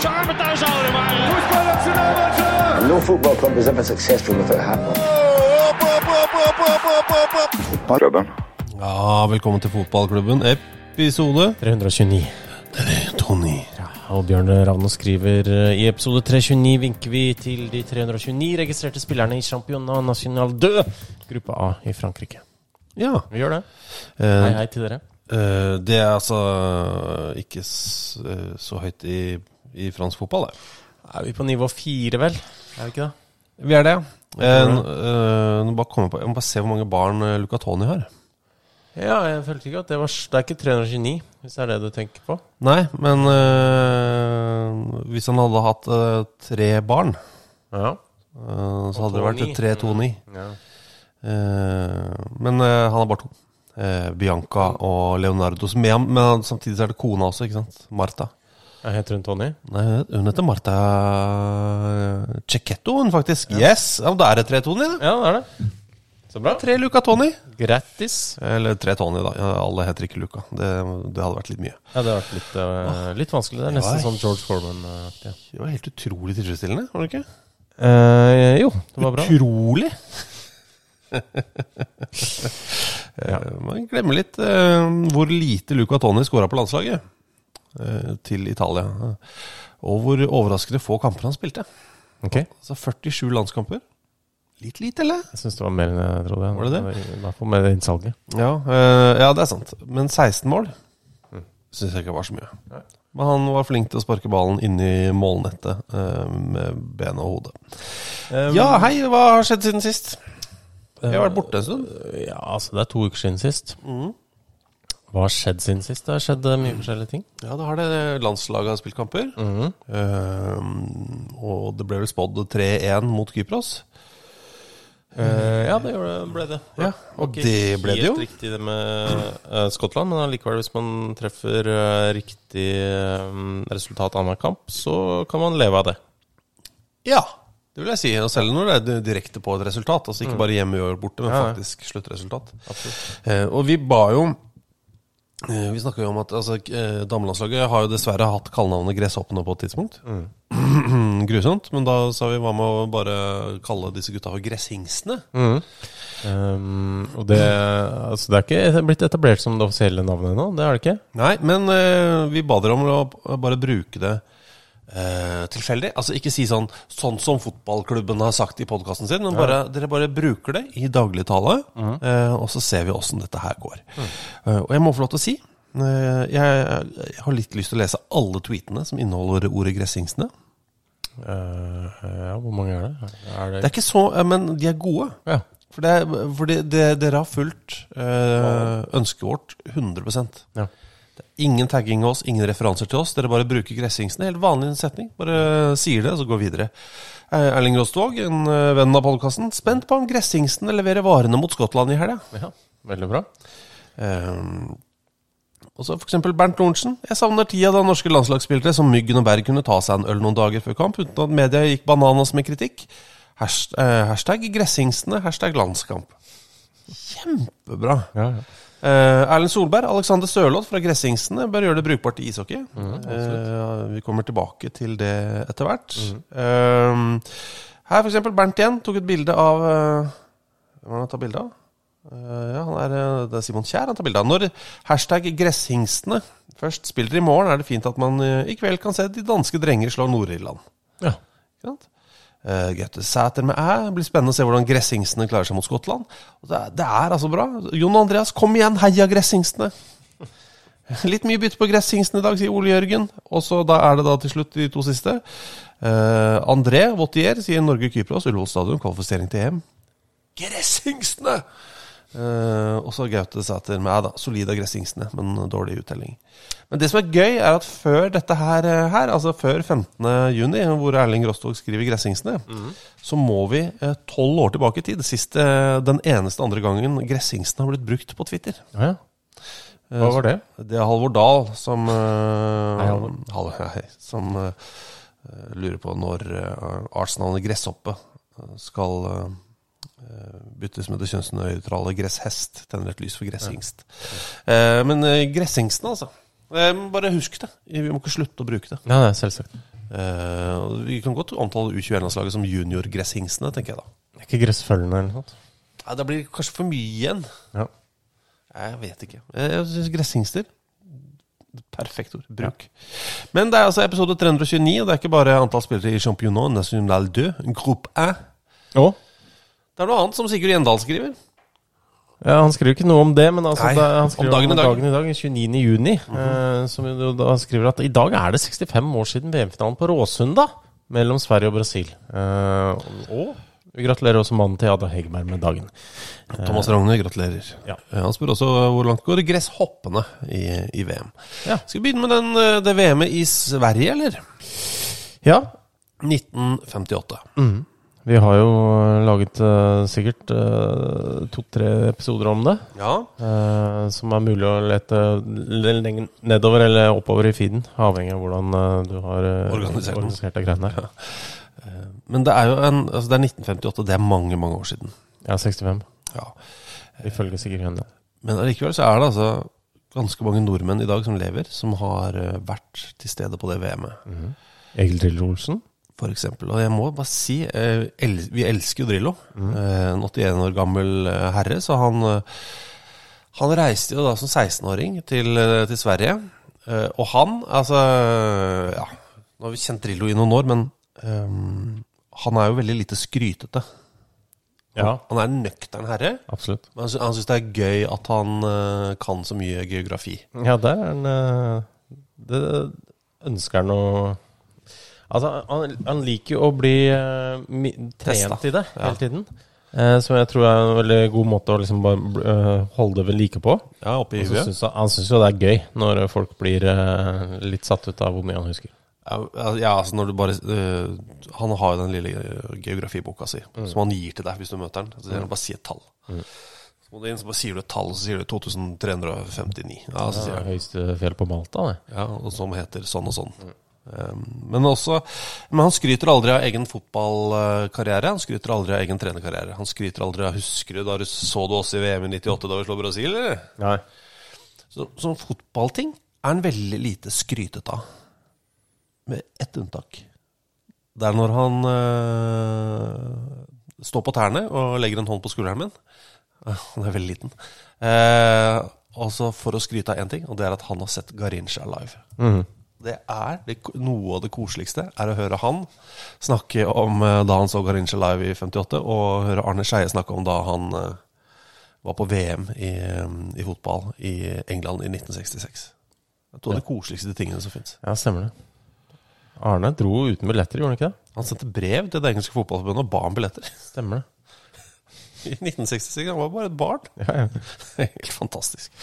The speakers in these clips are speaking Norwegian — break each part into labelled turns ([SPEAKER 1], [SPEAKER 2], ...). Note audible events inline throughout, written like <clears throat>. [SPEAKER 1] zijn armen thuis houden, maar... eh,
[SPEAKER 2] No football club is ever successful without a hat on.
[SPEAKER 3] Ja, velkommen til fotballklubben. Episode
[SPEAKER 4] 329.
[SPEAKER 3] 329.
[SPEAKER 4] Og Bjørn Ravnås skriver eh, i episode 329 vinker vi til de 329 registrerte spillerne i Championnat National 2, gruppe A i Frankrike.
[SPEAKER 3] Ja.
[SPEAKER 4] Vi gjør det.
[SPEAKER 3] eh,
[SPEAKER 4] Hei, hei til dere.
[SPEAKER 3] eh, det er altså ikke s- eh, så høyt i, i fransk fotball, det.
[SPEAKER 4] Er vi på nivå fire, vel? Er vi ikke det?
[SPEAKER 3] Vi er det, ja.
[SPEAKER 4] er det.
[SPEAKER 3] må eh, bare komme på, jeg må bare se hvor mange barn eh, Luca Toni har.
[SPEAKER 4] Ja, jeg følte ikke at det var s- Det er ikke 329, hvis det er det du tenker på.
[SPEAKER 3] Nei, men eh, hvis han hadde hatt eh, tre barn,
[SPEAKER 4] Ja.
[SPEAKER 3] eh, så hadde det
[SPEAKER 4] Og
[SPEAKER 3] vært
[SPEAKER 4] Toni.
[SPEAKER 3] 329. Eh, men eh, han er bare to. Eh, Bianca og Leonardo. Som er, men samtidig så er det kona også, ikke sant? Marta.
[SPEAKER 4] Jeg heter hun Tony.
[SPEAKER 3] Nei, hun heter Marta Cecchetto, hun faktisk. Yes! Ja, men da er det tre Tony, da.
[SPEAKER 4] Ja, det er det. Så bra.
[SPEAKER 3] Tre Luca Tony.
[SPEAKER 4] Grattis.
[SPEAKER 3] Eller tre Tony, da. Ja, Alle heter ikke Luca. Det, det hadde vært litt mye.
[SPEAKER 4] Ja, det har vært litt, eh, litt vanskelig. Det er nesten
[SPEAKER 3] Oi.
[SPEAKER 4] sånn George Foreman-aktig.
[SPEAKER 3] Det var helt utrolig tilfredsstillende, var det ikke?
[SPEAKER 4] Eh, jo, det var bra.
[SPEAKER 3] <laughs> Utrolig! Eh, Man glemmer litt eh, hvor lite Luca Toni skåra på landslaget eh, til Italia. eh, Og hvor overraskende få kamper han spilte.
[SPEAKER 4] Ok.
[SPEAKER 3] Altså 47 landskamper. Litt lite, eller?
[SPEAKER 4] Jeg syns det var mer enn jeg trodde.
[SPEAKER 3] Var det
[SPEAKER 4] I hvert fall med det innsalget.
[SPEAKER 3] Ja, eh, ja, det er sant. Men 16 mål Mm. syns jeg ikke var så mye. Men han var flink til å sparke ballen inni målnettet eh, med ben og hode. ja, hei, hva har skjedd siden sist? Eh, Eh, Jeg har vært borte en stund.
[SPEAKER 4] Ja, altså det er to uker siden sist. Hva har skjedd siden sist? Det har skjedd eh, mye forskjellige ting.
[SPEAKER 3] Ja, da har det landslaget har spilt kamper. Eh, og det ble vel spådd 3-1 mot Kypros. Eh,
[SPEAKER 4] ja, det ble det.
[SPEAKER 3] Ja, og det ble det jo.
[SPEAKER 4] Helt riktig det med eh, Skottland, men allikevel, hvis man treffer eh, riktig eh, resultat annenhver kamp, så kan man leve av det.
[SPEAKER 3] Ja, det vil jeg si. Og selv når det er direkte på et resultat. Altså ikke bare hjemme og borte, men
[SPEAKER 4] Mm. Ja, ja.
[SPEAKER 3] faktisk sluttresultat. Eh, og vi ba jo eh, Vi snakka jo om at altså, eh, damelandslaget har jo dessverre hatt kallenavnet Gresshoppene på et tidspunkt.
[SPEAKER 4] Mm.
[SPEAKER 3] <clears throat> Grusomt. Men da sa vi hva med å bare kalle disse gutta for Gresshingstene?
[SPEAKER 4] Um, og det, altså, det er ikke blitt etablert som det offisielle navnet ennå, det er det ikke?
[SPEAKER 3] Nei, men eh, vi ba dere om å bare bruke det eh, tilfeldig. Altså ikke si sånn sånn som fotballklubben har sagt i podkasten sin, men bare, dere bare bruker det i dagligtale,
[SPEAKER 4] Mhm.
[SPEAKER 3] eh, og så ser vi åssen dette her går. Eh, og jeg må få lov til å si eh, jeg, jeg har litt lyst til å lese alle tweetene som inneholder ordet 'gressingstene'.
[SPEAKER 4] Eh, ja, hvor mange er det? Er
[SPEAKER 3] Det er ikke så, eh, men de er gode.
[SPEAKER 4] Ja.
[SPEAKER 3] For, det, er- for det, det, dere har fulgt eh, ønsket vårt 100
[SPEAKER 4] Ja.
[SPEAKER 3] Ingen tagging av oss, ingen referanser til oss. Dere bare bruker gressingsene. Helt vanlig setning. Bare sier det, så går vi videre. Eh, Erling Rostvåg, en eh, venn av podkasten, spent på om gressingsene leverer varene mot Skottland i helga.
[SPEAKER 4] ja. Veldig bra.
[SPEAKER 3] Um, og så f.eks. Bernt Lorentzen. Jeg savner tida da norske landslagsspillere som Myggen og Berg kunne ta seg en øl noen dager før kamp, uten at media gikk bananas med kritikk. Hasht, eh, hashtag gressingstene, hashtag landskamp. Kjempebra.
[SPEAKER 4] Ja, ja.
[SPEAKER 3] Eh, Erlend Solberg, Alexander Sørloth fra Gressingstene bør gjøre det brukbart i ishockey. Eh, vi kommer tilbake til det etter hvert. Eh, her f.eks. Bernt igjen tok et bilde av eh, Hvem er det han tar bilde av? Eh, ja, han er, eh, det er Simon Kjær han tar bilde av. Når hashtag gresshingstene først spiller i morgen, er det fint at man eh, i kveld kan se de danske drenger slå Nord-Irland.
[SPEAKER 4] Ja.
[SPEAKER 3] Ikke sant? Eh, Gaute Sæter med æ. Blir spennende å se hvordan gressingstene klarer seg mot Skottland. Og det, er, det er altså bra. Jon Andreas, kom igjen, heia gressingstene! <laughs> Litt mye bytte på gressingsten i dag, sier Ole Jørgen. Og så da er det da til slutt de to siste. Eh, André Wautier sier Norge-Kypros, Ullevål stadion, kvalifisering til EM. Gressingstene! Eh, og så Gaute Sæter med æ, da. Solid av gressingstene, men dårlig uttelling. Men det som er gøy, er at før dette her, her altså før 15. juni, hvor Erling Rostok skriver Gressingsene, så må vi eh, tolv år tilbake i tid. Sist, eh, den eneste andre gangen Gressingsene har blitt brukt på Twitter.
[SPEAKER 4] Ja, ja. Hva var det?
[SPEAKER 3] Det er Halvor Dahl som eh,
[SPEAKER 4] Hei, Halvor.
[SPEAKER 3] Halvor, hei, som eh, lurer på når eh, artsnavnet Gresshoppe eh, skal eh, eh, byttes med det kjønnsnøytrale gresshest. Tenner et lys for gressingst. Eh, men eh, gressingsten, altså. Eh, men bare husk det. Vi må ikke slutte å bruke det.
[SPEAKER 4] Ja, nei, selvsagt.
[SPEAKER 3] Eh, og vi kan godt omtale U21-landslaget som junior-gresshingstene, tenker jeg da.
[SPEAKER 4] Det er ikke gressfølgende eller noe sånt.
[SPEAKER 3] Ja, det blir kanskje for mye igjen.
[SPEAKER 4] Ja.
[SPEAKER 3] Jeg vet ikke. Jeg jeg synes gressingster Perfekt ord. Bruk. Men det er altså episode 329, og det er ikke bare antall spillere i Championnat National 2, Group 1.
[SPEAKER 4] Og?
[SPEAKER 3] Det er noe annet som Sigurd Gjendal skriver.
[SPEAKER 4] Ja, han skriver ikke noe om det, men altså,
[SPEAKER 3] Nei,
[SPEAKER 4] det, han skriver
[SPEAKER 3] om dagen i dag. Mhm.
[SPEAKER 4] 29. juni, eh, som jo da skriver at i dag er det 65 år siden VM-finalen på Råsunda mellom Sverige og Brasil. Eh, og vi gratulerer også mannen til Ada Hegerberg med dagen.
[SPEAKER 3] Thomas Ragne, gratulerer.
[SPEAKER 4] Ja.
[SPEAKER 3] Eh, Han spør også hvor langt går gresshoppene i, i VM.
[SPEAKER 4] Ja.
[SPEAKER 3] Skal vi begynne med den, eh, det VM-et i Sverige, eller?
[SPEAKER 4] Ja,
[SPEAKER 3] 1958.
[SPEAKER 4] vi har jo eh, laget eh, sikkert eh, to-tre episoder om det,
[SPEAKER 3] Ja.
[SPEAKER 4] eh, som er mulig å lete l- lenge nedover eller oppover i feeden, avhengig av hvordan eh, du har eh,
[SPEAKER 3] Organisert den.
[SPEAKER 4] organisert deg greiene her.
[SPEAKER 3] Men det er jo en, altså det er 1958, det er mange, mange år siden.
[SPEAKER 4] Ja, 65,
[SPEAKER 3] Ja.
[SPEAKER 4] ifølge Sigurd Hjøndal.
[SPEAKER 3] Men allikevel så er det altså ganske mange nordmenn i dag som lever, som har eh, vært til stede på det VM-et,
[SPEAKER 4] Egil Driller Olsen?
[SPEAKER 3] for eksempel. Og jeg må bare si, eh, el vi elsker jo Drillo. Eh, En 81 år gammel eh, herre, så han, eh, han reiste jo da som 16-åring til, eh, til Sverige. Eh, Og han, altså, ja, nå har vi kjent Drillo i noen år, men eh, han er jo veldig lite skrytete.
[SPEAKER 4] Ja,
[SPEAKER 3] Han er en nøktern herre,
[SPEAKER 4] absolutt.
[SPEAKER 3] men han sy- han syns det er gøy at han eh, kan så mye geografi.
[SPEAKER 4] Ja, der er han eh, Det ønsker han å Altså, han, han liker jo å bli eh, mi-
[SPEAKER 3] Testa.
[SPEAKER 4] trent i det
[SPEAKER 3] Ja.
[SPEAKER 4] hele tiden. Eh, som jeg tror er en veldig god måte å liksom bare bl- eh, holde det ved like på.
[SPEAKER 3] Ja, oppe i
[SPEAKER 4] Og så
[SPEAKER 3] huet.
[SPEAKER 4] syns han, han syns jo det er gøy når folk blir eh, litt satt ut av hvor mye han husker.
[SPEAKER 3] Ja, al- ja, altså når du bare øh, Han har jo den lille øh, geografiboka si, som han gir til deg hvis du møter han. Så sier han bare si et tall. Så må du inn, så bare sier du et tall, så sier du 2359. Ja, så
[SPEAKER 4] Det
[SPEAKER 3] sier
[SPEAKER 4] er
[SPEAKER 3] han,
[SPEAKER 4] høyeste fjell på Malta, det.
[SPEAKER 3] ja, og som heter sånn og sånn. Um, men også Men han skryter aldri av egen fotballkarriere. Han skryter aldri av egen trenerkarriere. Han skryter aldri av 'Husker du da du så du oss i VM i 98 da vi slo Brasil', eller?
[SPEAKER 4] Nei.
[SPEAKER 3] Så, som fotballting er han veldig lite skrytet av. Med ett unntak. Det er når han eh, står på tærne og legger en hånd på skulderen min. <laughs> Eh, Han er veldig liten. Eh, altså for å skryte av én ting, og det er at han har sett Garincha live. Det er det, ko- Noe av det koseligste er å høre han snakke om eh, da han så Garincha live i 58, og høre Arne Skeie snakke om da han eh, var på VM i, eh, i fotball i England i 1966. Det er to av de koseligste tingene som fins.
[SPEAKER 4] Ja, stemmer det. Arne dro uten billetter, gjorde han ikke det?
[SPEAKER 3] Han sendte brev til det engelske fotballforbundet og ba om billetter. <laughs>
[SPEAKER 4] Stemmer det.
[SPEAKER 3] I 1966, Han var bare et barn. <laughs>
[SPEAKER 4] Ja, ja.
[SPEAKER 3] Helt fantastisk.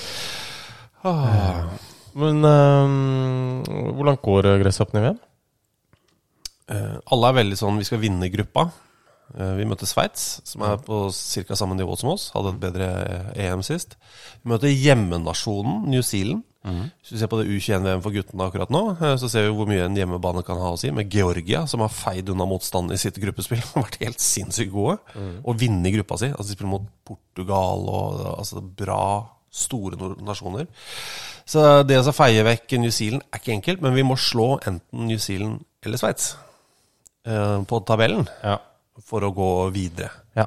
[SPEAKER 4] Men eh, hvor langt går eh, gresshoppene i VM?
[SPEAKER 3] Eh, alle er veldig sånn Vi skal vinne gruppa. Eh, vi møter Sveits, som er på ca. samme nivå som oss. Hadde et bedre eh, EM sist. Vi møter hjemmenasjonen New Zealand. Hvis vi ser på det U21-VM for guttene akkurat nå, eh, så ser vi hvor mye en hjemmebane kan ha å si. Med Georgia, som har feid unna motstanden i sitt gruppespill. <laughs> Har vært helt sinnssykt gode. Og vinne i gruppa si. Altså De spiller mot Portugal og altså, bra, store nor- nasjoner. Så det å så feie vekk New Zealand er ikke enkelt, men vi må slå enten New Zealand eller Sveits eh, på tabellen
[SPEAKER 4] Ja.
[SPEAKER 3] for å gå videre.
[SPEAKER 4] ja.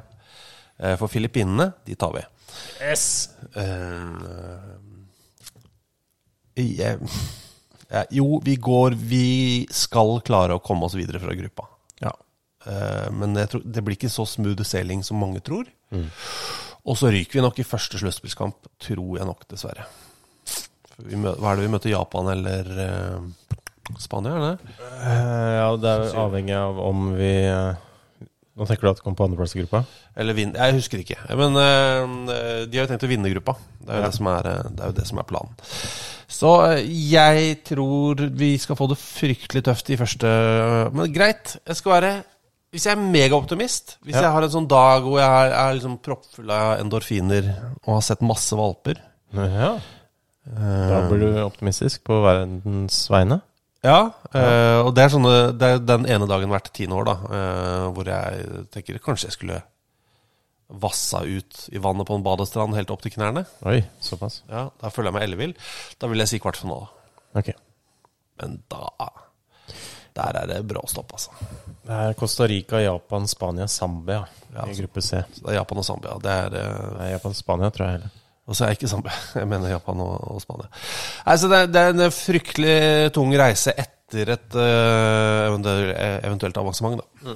[SPEAKER 3] Eh, For Filippinene, de tar vi.
[SPEAKER 4] Yes!
[SPEAKER 3] Eh, jeg, <laughs> ja, jo, vi går Vi skal klare å komme oss videre fra gruppa.
[SPEAKER 4] Ja.
[SPEAKER 3] Eh, Men jeg tror, det blir ikke så smooth sailing som mange tror. Og så ryker vi nok i første sluttspillskamp, tror jeg nok, dessverre. For vi mø hva er det vi møter? Japan eller eh, Spania? Er det?
[SPEAKER 4] Eh, ja, det er avhengig av om vi eh, Nå tenker du at det kom på andreplass i gruppa?
[SPEAKER 3] Eller vin Jeg husker ikke. Men eh, de har jo tenkt å vinne gruppa. Det er jo, det, som er, eh, det er jo det som er planen. Så eh, jeg tror vi skal få det fryktelig tøft i første eh, Men greit, jeg skal være Hvis jeg er megaoptimist, hvis
[SPEAKER 4] Ja.
[SPEAKER 3] jeg har en sånn dag hvor jeg er, er liksom proppfull av endorfiner og har sett masse valper eh,
[SPEAKER 4] Ja. Da blir du optimistisk på verdens vegne.
[SPEAKER 3] Ja, eh, og det er, sånne, det er den ene dagen hvert tiende år da, eh, hvor jeg tenker kanskje jeg skulle vassa ut i vannet på en badestrand helt opp til knærne.
[SPEAKER 4] Oi, såpass.
[SPEAKER 3] Ja, Da føler jeg meg ellevill. Da vil jeg si kvartfinale.
[SPEAKER 4] Ok.
[SPEAKER 3] Men da Der er det brå stopp, altså.
[SPEAKER 4] Det er Costa Rica, Japan, Spania, Zambia
[SPEAKER 3] Ja,
[SPEAKER 4] i
[SPEAKER 3] altså.
[SPEAKER 4] gruppe C.
[SPEAKER 3] Så det er Japan og Zambia. Det er eh,
[SPEAKER 4] Nei, Japan, Spania tror jeg heller.
[SPEAKER 3] Og så er jeg ikke Zambia. <laughs> Jeg mener Japan og, og Spania. Nei, så det, er- det er en fryktelig tung reise etter et eh, eventuelt, eventuelt avansement, da.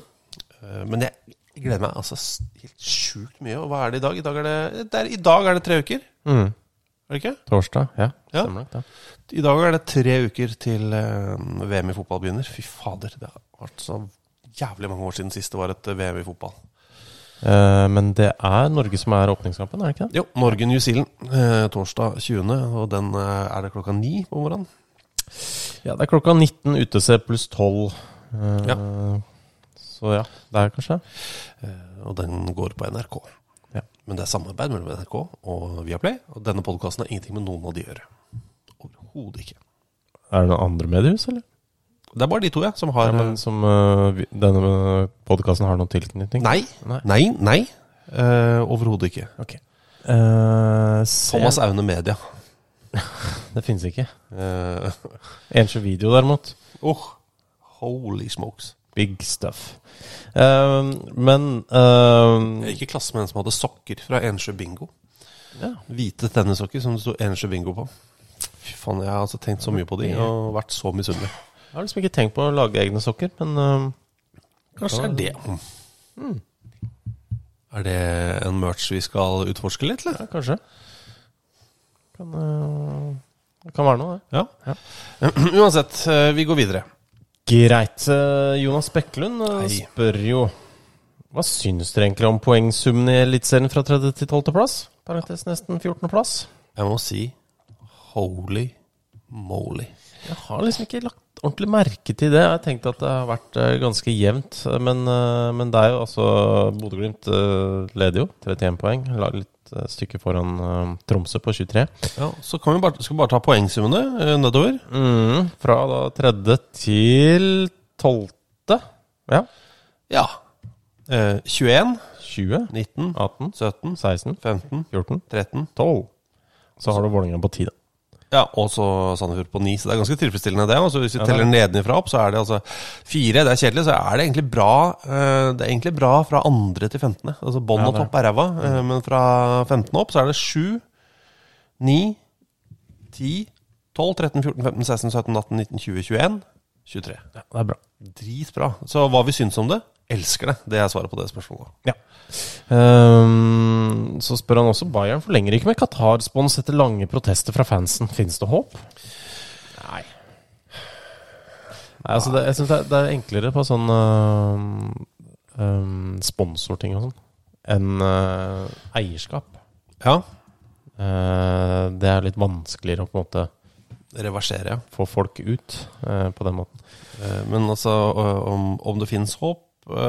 [SPEAKER 3] Eh, Men jeg gleder meg altså s- helt sjukt mye. Og hva er det i dag? I dag er det, det er, i dag er det tre uker. Er det ikke?
[SPEAKER 4] Torsdag, ja.
[SPEAKER 3] Ja.
[SPEAKER 4] Mm. Stemmer nok det.
[SPEAKER 3] I dag er det tre uker til eh, VM i fotball begynner. Fy fader, det har vært så jævlig mange år siden sist det var et eh, VM i fotball.
[SPEAKER 4] Eh, men det er Norge som er åpningskampen, er det ikke det?
[SPEAKER 3] Jo, Norge-New Zealand eh, torsdag 20., og den eh, er det klokka ni på morgenen.
[SPEAKER 4] Ja, det er klokka 19 UTC pluss 12. Eh,
[SPEAKER 3] Ja.
[SPEAKER 4] Så ja, der kanskje.
[SPEAKER 3] Og den går på NRK.
[SPEAKER 4] Ja.
[SPEAKER 3] Men det er samarbeid mellom NRK og Viaplay, og denne podkasten har ingenting med noen av de å gjøre. Overhodet ikke.
[SPEAKER 4] Er det noen andre mediehus, eller?
[SPEAKER 3] Det er bare de to, ja, som har
[SPEAKER 4] Ja, men som eh, vi- denne podkasten har noen tilknytning?
[SPEAKER 3] Nei,
[SPEAKER 4] Nei.
[SPEAKER 3] nei, nei. Eh, Overhodet ikke.
[SPEAKER 4] Ok. Eh, se.
[SPEAKER 3] Thomas Aune Media.
[SPEAKER 4] Det finnes ikke.
[SPEAKER 3] Eh, <laughs>
[SPEAKER 4] Ensjø video, derimot.
[SPEAKER 3] oh, holy smokes.
[SPEAKER 4] Big stuff. Eh, men eh,
[SPEAKER 3] Jeg gikk i klasse med en som hadde sokker fra Ensjø Bingo.
[SPEAKER 4] Ja.
[SPEAKER 3] Hvite tennissokker som det sto Ensjø Bingo på. Fy faen, jeg har altså tenkt så mye på de og vært så misunnelig.
[SPEAKER 4] Jeg har liksom ikke tenkt på å lage egne sokker, men eh,
[SPEAKER 3] Kanskje er det Mm. Er det en merch vi skal utforske litt, eller? <clears throat>
[SPEAKER 4] ja, eh, kanskje. Kan, eh, det kan være noe, det.
[SPEAKER 3] Ja. Uansett, eh, vi går videre.
[SPEAKER 4] Greit. Eh, Jonas Bekkelund eh,
[SPEAKER 3] Hei.
[SPEAKER 4] spør jo Hva syns dere egentlig om poengsummene i Eliteserien fra 30. til 12. plass? Parentes nesten 14. plass.
[SPEAKER 3] Jeg må si holy moly.
[SPEAKER 4] Jeg har liksom ikke lagt ordentlig merke til det. Jeg har tenkt at det har vært eh, ganske jevnt. eh, Men, eh, men det er jo altså Bodø-Glimt eh, leder jo. 31 poeng. La litt eh, stykke foran eh, Tromsø på 23.
[SPEAKER 3] Ja, så kan vi bare, skal vi bare ta poengsummene eh, nedover.
[SPEAKER 4] Mm, fra da tredje til tolvte. Ja.
[SPEAKER 3] Ja. Eh, 21,
[SPEAKER 4] 20,
[SPEAKER 3] 19,
[SPEAKER 4] 18,
[SPEAKER 3] 17,
[SPEAKER 4] 16,
[SPEAKER 3] 15,
[SPEAKER 4] 14,
[SPEAKER 3] 13,
[SPEAKER 4] 12. Så har du Vålerenga på 10, da.
[SPEAKER 3] Ja, og så Sandefjord på ni, så det er ganske tilfredsstillende det. Og så hvis vi
[SPEAKER 4] Ja, det er
[SPEAKER 3] teller nedenifra opp, så er det altså fire, det er kjedelig, så er det egentlig bra eh, Det er egentlig bra fra andre til femtende. Altså bånn
[SPEAKER 4] Ja,
[SPEAKER 3] og
[SPEAKER 4] det Mm. er.
[SPEAKER 3] topp er ræva, eh, men fra femtende opp så er det sju, ni, ti, tolv, 13, 14, 15, 16, 17, 18, 19, 20, 21, 23.
[SPEAKER 4] Det er bra.
[SPEAKER 3] Dritbra. Så hva vi syns om det? Elsker det. Det er svaret på det spørsmålet.
[SPEAKER 4] Ehm, så spør han også Bayern forlenger ikke med Qatar-spons etter lange protester fra fansen. Fins det håp? Nei. Nei altså det, jeg syns det, er- det er enklere på sånn øhm, øhm, sponsorting og sånn enn øh, eierskap.
[SPEAKER 3] Ja.
[SPEAKER 4] Eh, det er litt vanskeligere å på en måte
[SPEAKER 3] Reverserer, ja.
[SPEAKER 4] få folk ut eh, på den måten.
[SPEAKER 3] Eh, Men altså, ø- om, om det finnes håp ø,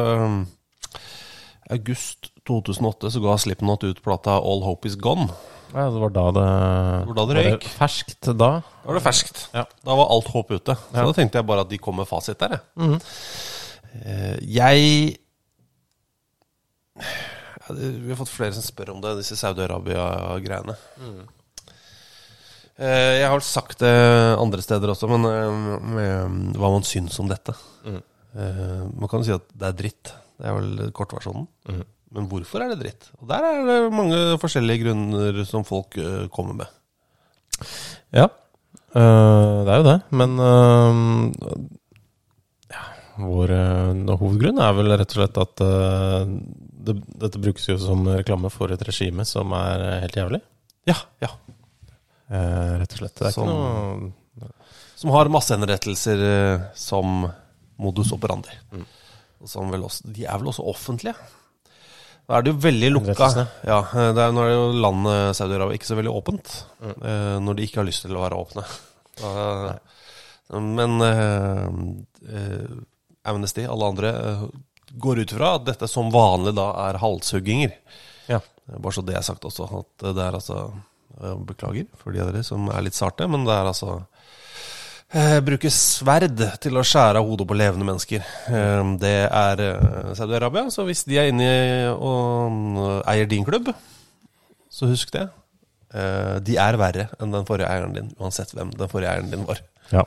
[SPEAKER 3] August 2008 så ga Slipknot ut plata All Hope Is Gone.
[SPEAKER 4] Ja, det var da det,
[SPEAKER 3] Det var da det
[SPEAKER 4] var
[SPEAKER 3] røyk.
[SPEAKER 4] ferskt da.
[SPEAKER 3] Da var det ferskt.
[SPEAKER 4] Ja.
[SPEAKER 3] Da var alt håp ute. Så
[SPEAKER 4] Ja.
[SPEAKER 3] da tenkte jeg bare at de kom med fasit der, jeg. Eh, Jeg ja, det, Vi har fått flere som spør om det, disse Saudi-Arabia-greiene. Eh, Jeg har vel sagt det andre steder også, men eh, med hva man Mhm. syns om dette. Eh, Man kan jo si at det er dritt. Det er vel kortversjonen. Men hvorfor er det dritt? Og Der er det mange forskjellige grunner som folk eh, kommer med.
[SPEAKER 4] Ja, øh, det er jo det. Men øh, ja, vår øh, hovedgrunn er vel rett og slett at øh, det, dette brukes jo som reklame for et regime som er øh, helt jævlig.
[SPEAKER 3] Ja, ja.
[SPEAKER 4] Eh, rett og slett. Det er
[SPEAKER 3] Som-
[SPEAKER 4] ikke noe
[SPEAKER 3] Som har massehenrettelser eh, som modus operandi. Og Som vel også, de er vel også offentlige? Da er det jo veldig lukka.
[SPEAKER 4] Henrettelsene.
[SPEAKER 3] Ja, eh, det er, nå er det jo landet Saudi-Arabia ikke så veldig åpent. eh, Når de ikke har lyst til å være åpne. Da- Men eh, eh, Amnesty, alle andre, eh, går ut fra at dette som vanlig da er halshugginger.
[SPEAKER 4] Ja.
[SPEAKER 3] Eh, Bare så det er sagt også, at det er altså eh, Beklager for de av dere som er litt sarte, men det er altså eh, Bruke sverd til å skjære av hodet på levende mennesker. Eh, det er eh, Saudi-Arabia, så hvis de er inne i og eh, eier din klubb, så husk det. Eh, de er verre enn den forrige eieren din, uansett hvem den forrige eieren din var.
[SPEAKER 4] Ja.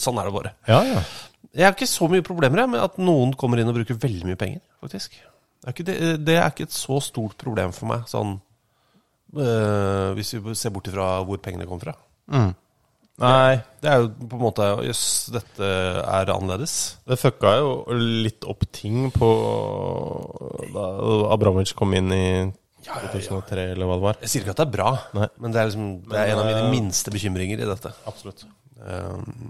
[SPEAKER 3] Sånn er det bare.
[SPEAKER 4] ja, ja.
[SPEAKER 3] Jeg har ikke så mye problemer jeg, med at noen kommer inn og bruker veldig mye penger, faktisk. Det er ikke, det, eh, det er ikke et så stort problem for meg, sånn øh, Hvis vi ser bort ifra hvor pengene kom fra.
[SPEAKER 4] Mm. Nei,
[SPEAKER 3] Det er jo på en måte Jøss, dette er annerledes.
[SPEAKER 4] det fucka jo litt opp ting på da Abramovic kom inn i 2003, eller hva det var.
[SPEAKER 3] Jeg sier ikke at det er bra,
[SPEAKER 4] Nei.
[SPEAKER 3] men det er, liksom, det er en av
[SPEAKER 4] øh,
[SPEAKER 3] mine minste bekymringer i dette.
[SPEAKER 4] Absolutt.
[SPEAKER 3] Um,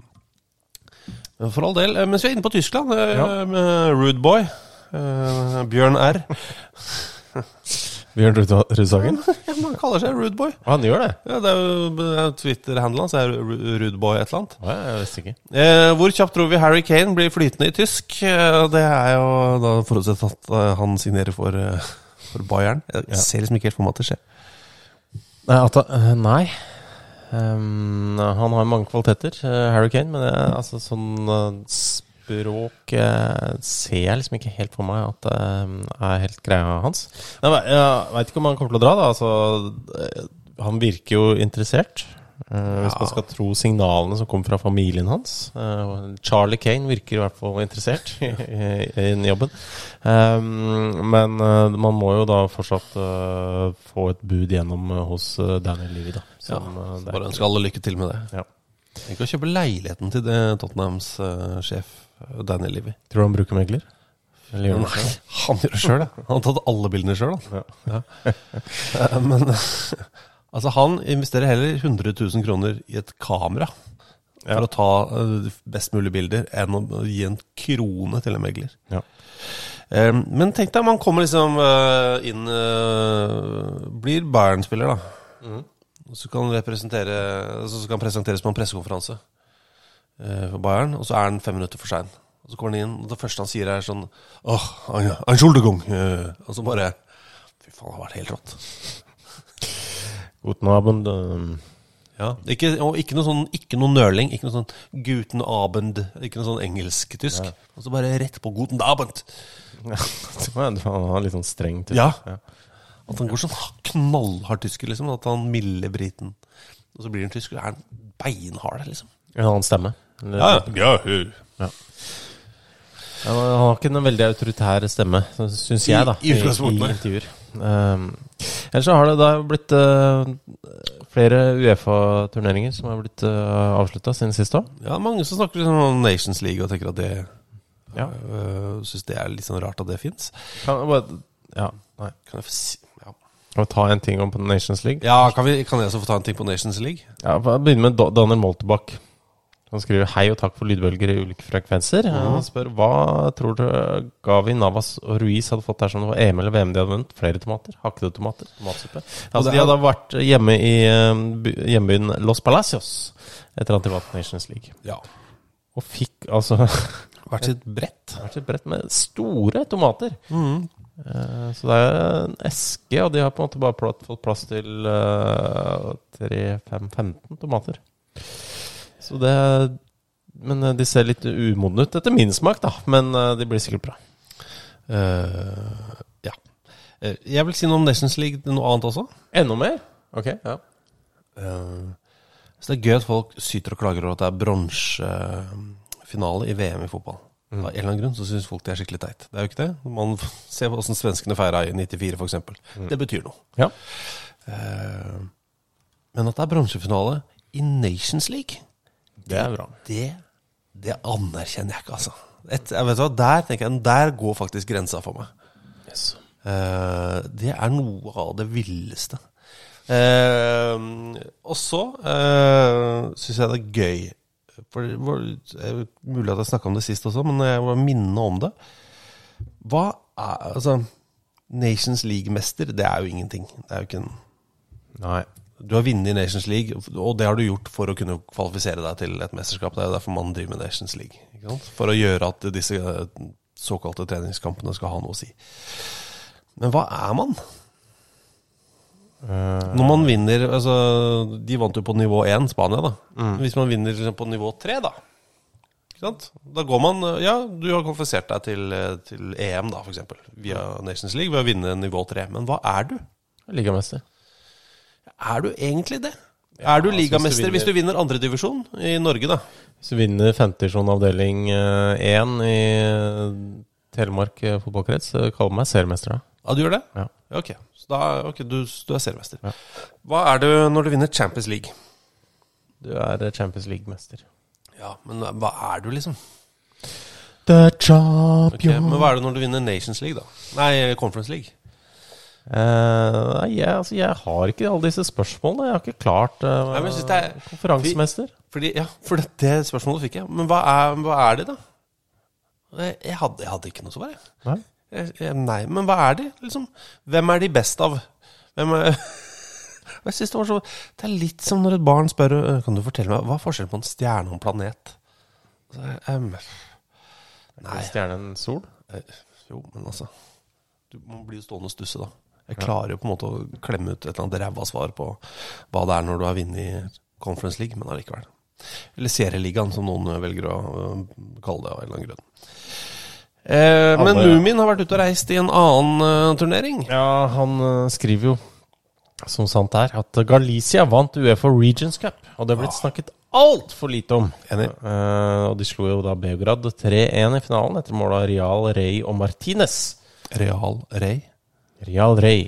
[SPEAKER 3] men for all del. eh, Mens vi er inne på Tyskland, eh,
[SPEAKER 4] Ja.
[SPEAKER 3] med Rude Boy, eh, Bjørn R.
[SPEAKER 4] Bjørn Rud- Rudsagen?
[SPEAKER 3] Han kaller seg Rude Boy.
[SPEAKER 4] Han gjør det?
[SPEAKER 3] Ja, det er jo Twitter-handelen hans, er Rudeboy et eller annet.
[SPEAKER 4] Å, jeg visste ikke.
[SPEAKER 3] Eh, hvor kjapt tror vi Harry Kane blir flytende i tysk? Eh, det er jo da forutsett at eh, han signerer for, eh, for Bayern. Jeg ser liksom ikke helt for meg at det skjer.
[SPEAKER 4] Nei, at, han- øh, nei. Ehm, han har mange kvaliteter, øh, Harry Kane, men jeg, altså, sånn øh, språk øh, ser jeg liksom ikke helt for meg at det er helt greia hans. Nei, men jeg veit ikke om han kommer til å dra, da. Altså, øh, han virker jo interessert. øh, hvis man skal tro signalene som kommer fra familien hans. Øh, Charlie Kane virker i hvert fall interessert <laughs> i, i, i jobben. Ehm, men øh, man må jo da fortsatt øh, få et bud gjennom øh, hos øh, Daniel Levy, da.
[SPEAKER 3] Ja,
[SPEAKER 4] Som, øh,
[SPEAKER 3] så
[SPEAKER 4] det er-
[SPEAKER 3] bare ønsker alle lykke til med det.
[SPEAKER 4] Ja.
[SPEAKER 3] Tenk å kjøpe leiligheten til det Tottenhams eh, sjef, eh, Daniel Levy.
[SPEAKER 4] Tror du han bruker megler? Eller gjør han ikke
[SPEAKER 3] Nei,
[SPEAKER 4] det?
[SPEAKER 3] <laughs> han gjør det sjøl, ja. Han har tatt alle bildene sjøl, han. Ja. Eh, Men <laughs> altså, han investerer heller 100 000 kroner i et kamera for å ta eh, best mulig bilder, enn å gi en krone til en megler.
[SPEAKER 4] Ja.
[SPEAKER 3] Eh, Men tenk deg, man kommer liksom eh, inn eh, Blir Bayern-spiller, da. Og så kan, han representere, altså, så kan han presenteres på en pressekonferanse eh, for Bayern, og så er han fem minutter for sein. Og så går han inn, og det første han sier, er sånn Åh, oh, Entschuldigung! eh», Og så bare Fy faen, det har vært helt rått.
[SPEAKER 4] Guten Abend. <laughs> øhm,
[SPEAKER 3] Ja, ikke, og ikke noe, sånn, ikke noe nøling, ikke noe sånn guten abend, ikke noe sånn engelsk-tysk. Og så bare rett på guten abend.
[SPEAKER 4] Ja, det var- det var- han var litt sånn streng typ.
[SPEAKER 3] Ja. At han går sånn knallhard tysker, liksom. At han milder briten. Og så blir han tysker, og er han beinhard, liksom.
[SPEAKER 4] En annen stemme. Eller- Ja, men han har ikke en veldig autoritær stemme, syns jeg, da.
[SPEAKER 3] I- i utgangspunktet.
[SPEAKER 4] i intervjuer. Um, ellers så har det da blitt eh, flere Uefa-turneringer som har blitt uh, avslutta siden sist òg.
[SPEAKER 3] Ja, mange som snakker liksom om Nations League og tenker at det
[SPEAKER 4] Ja.
[SPEAKER 3] øh, Syns det er litt sånn rart at det fins.
[SPEAKER 4] Kan, jeg bare- ja, nei.
[SPEAKER 3] Kan jeg få si ja.
[SPEAKER 4] Kan vi ta en ting om på Nations League?
[SPEAKER 3] ja, kan, vi, kan jeg også få ta en ting på Nations League?
[SPEAKER 4] Ja, vi begynner med Da- Daniel Moltebakk. Han skriver 'Hei og takk for lydbølger i ulike frekvenser'. Han spør hva tror du Gavi, Navas og Ruiz hadde fått dersom det var EM eller VM de hadde vunnet? Flere tomater? Hakkede tomater? Tomatsuppe? Altså,
[SPEAKER 3] det
[SPEAKER 4] de
[SPEAKER 3] er-
[SPEAKER 4] hadde vært hjemme i eh, by- hjembyen Los Palacios etter at de vant Nations League.
[SPEAKER 3] Ja.
[SPEAKER 4] Og fikk altså <laughs>
[SPEAKER 3] Hvert sitt brett.
[SPEAKER 4] vært et brett med store tomater. Eh, så det er en eske, og de har på en måte bare pl- fått plass til uh, 3-5-15 tomater. Så det Men eh, de ser litt umodne ut, etter min smak, da. Men eh, de blir sikkert bra.
[SPEAKER 3] Eh, ja. Eh, jeg vil si noe om Nations League, noe annet også.
[SPEAKER 4] Enda mer? Ok. Ja.
[SPEAKER 3] Eh, så det er gøy at folk syter og klager over at det er bronsefinale i VM i fotball. Av en eller annen grunn så syns folk det er skikkelig teit. Det er jo ikke det. Man <laughs> ser hvordan svenskene feira i 94, f.eks. Det betyr noe.
[SPEAKER 4] Ja.
[SPEAKER 3] Eh, Men at det er bronsefinale i Nations League,
[SPEAKER 4] Det er bra.
[SPEAKER 3] det, det anerkjenner jeg ikke, altså. Et, jeg vet hva, der, tenker jeg, der går faktisk grensa for meg.
[SPEAKER 4] Yes.
[SPEAKER 3] Eh, det er noe av det villeste. Eh, og så uh, syns jeg det er gøy For det var eh, mulig at jeg snakka om det sist også, men jeg må minne om det. Hva er Altså, Nations League-mester, det er jo ingenting. Det er jo ikke en
[SPEAKER 4] Nei.
[SPEAKER 3] du har vunnet i Nations League, og det har du gjort for å kunne kvalifisere deg til et mesterskap. Det er jo derfor man driver med Nations League. Ikke sant? For å gjøre at disse eh, såkalte treningskampene skal ha noe å si. Men hva er man? Når man vinner altså, De vant jo på nivå 1, Spania, da. Hvis man vinner liksom, på nivå 3, da Ikke sant? Da går man eh, Ja, du har kvalifisert deg til, eh, til EM, da, f.eks. Via Nations League ved å vinne nivå 3. Men hva er du?
[SPEAKER 4] Ligamester.
[SPEAKER 3] Er du egentlig det? er du
[SPEAKER 4] altså, hvis du
[SPEAKER 3] ligamester hvis du
[SPEAKER 4] vinner-
[SPEAKER 3] vinner andredivisjon i Norge, da?
[SPEAKER 4] Hvis du vinner femtedivisjon avdeling eh, 1 i eh, Telemark eh, fotballkrets, så kall meg seriemester, da.
[SPEAKER 3] Ja, du gjør det?
[SPEAKER 4] Ja.
[SPEAKER 3] Ok, så da, ok, du, du er seriemester. Hva er du når du vinner Champions League?
[SPEAKER 4] Du er eh, Champions League-mester.
[SPEAKER 3] Ja, men hva er du, liksom?
[SPEAKER 4] The
[SPEAKER 3] Ok, men hva er du når du vinner Nations League, da? Nei, Conference League.
[SPEAKER 4] nei, jeg, altså, jeg har ikke alle disse spørsmålene. Jeg har ikke klart uh,
[SPEAKER 3] Nei, men jeg synes det er-
[SPEAKER 4] konferansemester.
[SPEAKER 3] Fordi, ja, for det, det spørsmålet fikk jeg. Men hva er, hva er de, da? Jeg, jeg, hadde, jeg hadde ikke noe svar, jeg.
[SPEAKER 4] Nei.
[SPEAKER 3] Jeg- jeg- Nei, men hva er de, liksom? Hvem er de best av? Hvem er... <laughs> Jeg synes det, var så, det er litt som når et barn spør «Øh, Kan du fortelle meg, hva er forskjellen på en stjerne og en planet? Så, jeg, «Ehm, nei,
[SPEAKER 4] Stjernen Sol.
[SPEAKER 3] eh, jo, men altså Du må bli jo stående og stusse, da. Jeg klarer jo på en måte å klemme ut et eller annet ræva svar på hva det er når du har vunnet Conference League, men allikevel. Eller Serieligaen, som noen velger å øh, kalle det av en eller annen grunn. Eh, men
[SPEAKER 4] Alle-
[SPEAKER 3] Lumin har vært ute og reist i en annen eh, turnering.
[SPEAKER 4] Ja, han eh, skriver jo, som sant er, at Galicia vant Uefa Regions Cup. Og det er blitt snakket altfor lite om.
[SPEAKER 3] Enig.
[SPEAKER 4] Eh, og de slo jo da Beograd 3-1 i finalen etter mål av Real Rey og Martinez.
[SPEAKER 3] Real Rey.
[SPEAKER 4] Real Rey.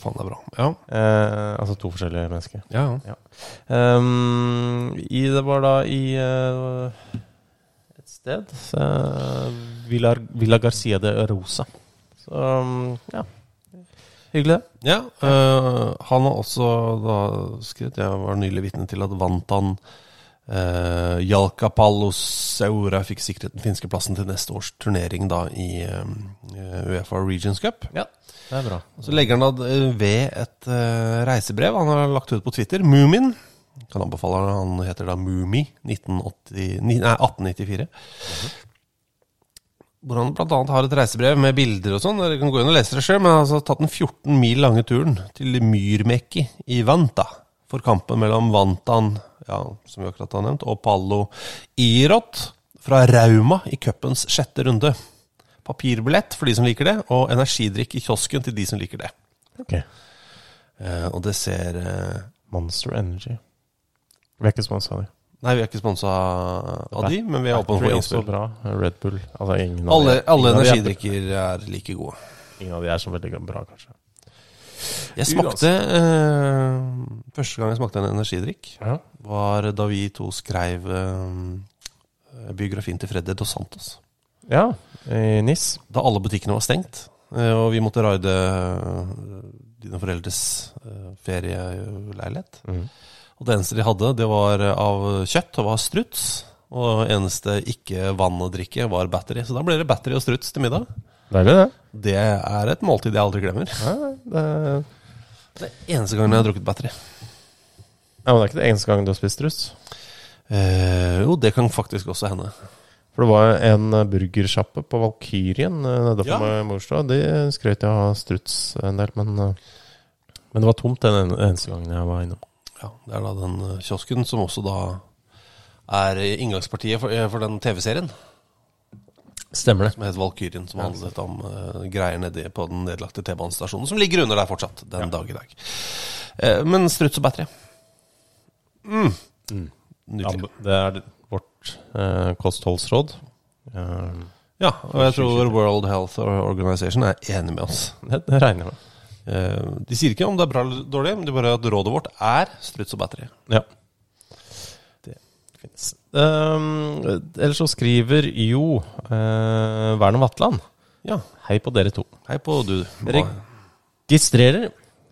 [SPEAKER 3] Faen, det er bra. Ja.
[SPEAKER 4] Eh, altså to forskjellige mennesker.
[SPEAKER 3] ja, ja.
[SPEAKER 4] Ja. Ehm, i, det var da i eh, et sted eh, Villa, Villa Garcia de Rosa. Så um, ja. Hyggelig, det.
[SPEAKER 3] øh, han har også da skrevet Jeg var nylig vitne til at vant han uh, Jalkapallo Saura fikk sikret den finske plassen til neste års turnering da i eh, Uefa Regions Cup.
[SPEAKER 4] Ja, det er bra.
[SPEAKER 3] Så legger han da eh, ved et eh, reisebrev han har lagt ut på Twitter. Moomin. Kan anbefale han. Han heter da Moomi. 1980, ni- nei, 1894. Hvor han bl.a. har et reisebrev med bilder og sånn. Dere kan gå inn og lese det sjøl. Men han har altså tatt den 14 mil lange turen til Myrmekki i Vanta. For kampen mellom Vantan, ja, som vi akkurat har nevnt, og Pallo Irot fra Rauma i cupens sjette runde. Papirbillett for de som liker det, og energidrikk i kiosken til de som liker det.
[SPEAKER 4] Ok.
[SPEAKER 3] Eh, og det ser eh,
[SPEAKER 4] Monster Energy. Vi er ikke sponsa av dem.
[SPEAKER 3] Nei, vi er ikke sponsa av de, men vi er åpne
[SPEAKER 4] Battery
[SPEAKER 3] for
[SPEAKER 4] er også
[SPEAKER 3] innspill.
[SPEAKER 4] bra. Red Bull. Altså, ingen av
[SPEAKER 3] Alle,
[SPEAKER 4] de-
[SPEAKER 3] alle
[SPEAKER 4] ingen av de er-
[SPEAKER 3] energidrikker er like gode.
[SPEAKER 4] Ingen av de er så veldig bra, kanskje.
[SPEAKER 3] Jeg smakte eh, Første gang jeg smakte en energidrikk,
[SPEAKER 4] Ja.
[SPEAKER 3] var da vi to skrev eh, biografien til Freddy Dos Santos.
[SPEAKER 4] ja I NIS.
[SPEAKER 3] Da alle butikkene var stengt, eh, og vi måtte raide eh, dine foreldres eh, ferieleilighet. Og det eneste de hadde, det var eh, av kjøtt og var struts. Og det eneste ikke vann å drikke var battery. Så da ble det battery og struts til middag.
[SPEAKER 4] Deilig, det.
[SPEAKER 3] Det er et måltid jeg aldri glemmer.
[SPEAKER 4] Ja, det
[SPEAKER 3] Det er eneste gangen jeg har drukket battery.
[SPEAKER 4] ja, men det er ikke det eneste gang du har spist russ.
[SPEAKER 3] Eh, jo, det kan faktisk også hende.
[SPEAKER 4] For det var en eh, burgersjappe på Valkyrien eh, nede på
[SPEAKER 3] Ja.
[SPEAKER 4] ja. Morstad. De skrøt jeg av struts en del, men, eh, men det var tomt den en- eneste gangen jeg var innom.
[SPEAKER 3] Ja, Det er da den eh, kiosken som også da er inngangspartiet for, eh, for den TV-serien.
[SPEAKER 4] Stemmer det.
[SPEAKER 3] som het Valkyrien, som handlet om eh, greier nedi på den nedlagte T-banestasjonen, som ligger under der fortsatt, den dag i dag. Eh, men struts og battery. Mm.
[SPEAKER 4] Ja,
[SPEAKER 3] Nydelig.
[SPEAKER 4] det er vårt eh, kostholdsråd. Eh,
[SPEAKER 3] Ja, og jeg tror World Health Organization er enig med oss.
[SPEAKER 4] det, det regner jeg med.
[SPEAKER 3] Eh, De sier ikke om det er bra eller dårlig, men de bare at rådet vårt er struts og battery.
[SPEAKER 4] Ja. Det fins. ellers så skriver jo eh, Werner Vatland
[SPEAKER 3] Ja,
[SPEAKER 4] Hei på dere to.
[SPEAKER 3] hei på du.
[SPEAKER 4] Erik. Registrerer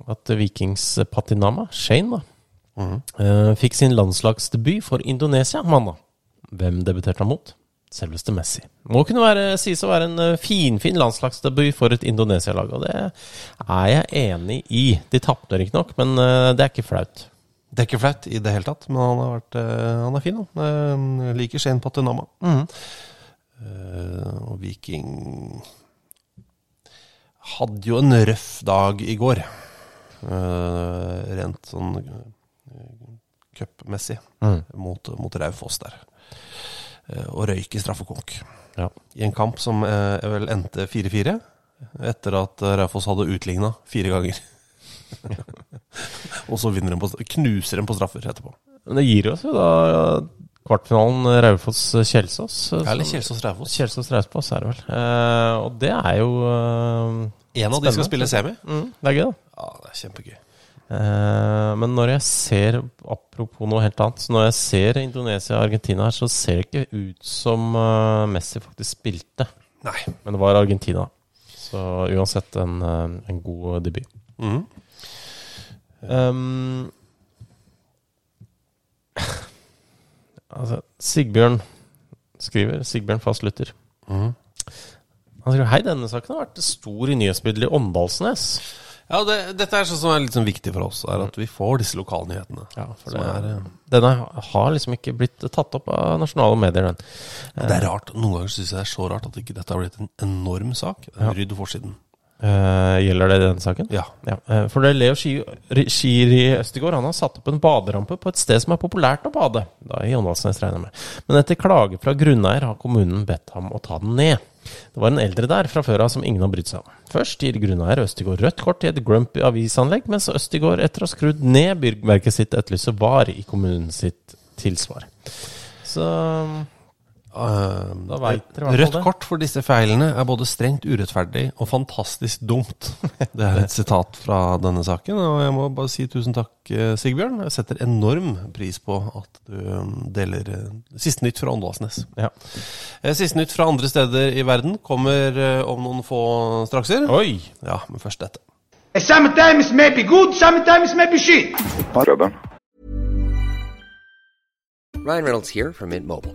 [SPEAKER 4] at Vikings Patinama, Shane, da, eh, fikk sin landslagsdebut for Indonesia mandag. Hvem debuterte han mot? Selveste Messi. Må kunne være, sies å være en eh, finfin landslagsdebut for et Indonesia-lag, og det er jeg enig i. De tapte riktignok, men eh, det er ikke flaut.
[SPEAKER 3] Det er ikke flaut i det hele tatt, men han, har vært, eh, han er fin. Da. Eh, Liker Shane Patinama. Eh, og Viking hadde jo en røff dag i går, eh, rent sånn eh, cupmessig, mot, mot Raufoss der. Eh, og røyk i straffekonk.
[SPEAKER 4] Ja.
[SPEAKER 3] I en kamp som eh, vel endte 4-4, etter at eh, Raufoss hadde utligna fire ganger. <laughs> og så vinner de på, knuser de på straffer etterpå.
[SPEAKER 4] Men det gir oss jo da kvartfinalen eh, Raufoss-Kjelsås. Eh,
[SPEAKER 3] Eller Kjelsås Raufoss.
[SPEAKER 4] Kjelsås-Raufoss er det vel. Eh, og det er jo eh,
[SPEAKER 3] En av de skal
[SPEAKER 4] Spennende.
[SPEAKER 3] spille semi.
[SPEAKER 4] mm, Det er gøy, da.
[SPEAKER 3] Ja, det er kjempegøy.
[SPEAKER 4] Eh, men når jeg ser Apropos noe helt annet. Så når jeg ser Indonesia og Argentina her, så ser det ikke ut som eh, Messi faktisk spilte.
[SPEAKER 3] Nei.
[SPEAKER 4] Men det var Argentina. Så uansett en, eh, en god debut. Um, altså, Sigbjørn skriver Sigbjørn Fast Luther. Han skriver Hei, denne saken har vært stor i nyhetsbildet i Åndalsnes.
[SPEAKER 3] Ja, det, dette er sånn som er litt sånn viktig for oss, er at vi får disse lokalnyhetene.
[SPEAKER 4] for
[SPEAKER 3] Som
[SPEAKER 4] det
[SPEAKER 3] er,
[SPEAKER 4] er,
[SPEAKER 3] eh,
[SPEAKER 4] denne har liksom ikke blitt tatt opp av nasjonale medier, den.
[SPEAKER 3] men det er rart. Noen ganger syns jeg det er så rart at ikke dette har blitt en enorm sak.
[SPEAKER 4] Ja.
[SPEAKER 3] Rydd forsiden.
[SPEAKER 4] Eh, gjelder det denne saken?
[SPEAKER 3] Ja.
[SPEAKER 4] eh, for det er Leo Ski- Ri- Skiri Østegård han har satt opp en baderampe på et sted som er populært å bade. Da i Åndalsnes, regner jeg med. Men etter klage fra grunneier har kommunen bedt ham å ta den ned. Det var en eldre der fra før av som ingen har brydd seg om. Først gir grunneier Østegård rødt kort i et grumpy avisanlegg, mens Østegård etter å ha skrudd ned byggverket sitt etterlyser var i kommunen sitt tilsvar. Så
[SPEAKER 3] Eh,
[SPEAKER 4] Da vet dere i hvert fall
[SPEAKER 3] Rødt
[SPEAKER 4] det.
[SPEAKER 3] kort for disse feilene er både strengt urettferdig og fantastisk dumt.
[SPEAKER 4] <laughs>
[SPEAKER 3] Det er et sitat fra denne saken, og jeg må bare si tusen takk, eh, Sigbjørn. Jeg setter enorm pris på at du eh, deler eh, siste nytt fra Åndalsnes.
[SPEAKER 4] ja.
[SPEAKER 3] Eh, Siste nytt fra andre steder i verden kommer eh, om noen få strakser.
[SPEAKER 4] Oi!
[SPEAKER 3] Ja, men først dette.
[SPEAKER 1] Sometimes maybe good, sometimes maybe shit.
[SPEAKER 5] Ryan Reynolds here from Mint Mobile.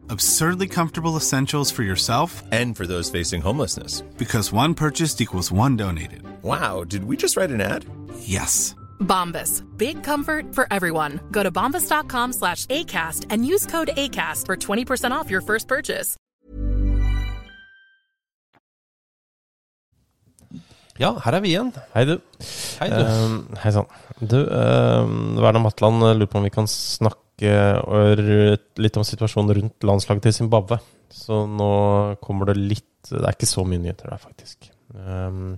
[SPEAKER 6] Absurdly comfortable essentials for yourself and for those facing homelessness. Because one purchased equals one donated. Wow, did we just write an ad? Yes.
[SPEAKER 7] Bombas. Big comfort for everyone. Go to bombas.com slash ACAST and use code ACAST for 20% off your first purchase.
[SPEAKER 3] Ja, her er vi igjen.
[SPEAKER 4] Hei, du.
[SPEAKER 3] Hei, du.
[SPEAKER 6] Um,
[SPEAKER 4] Eh, hei sann. Du, uh, Werner Matland eh, lurer på om vi kan snakke og ru- litt om situasjonen rundt landslaget til Zimbabwe. Så nå kommer det litt Det er ikke så mye nyheter der, faktisk. Um,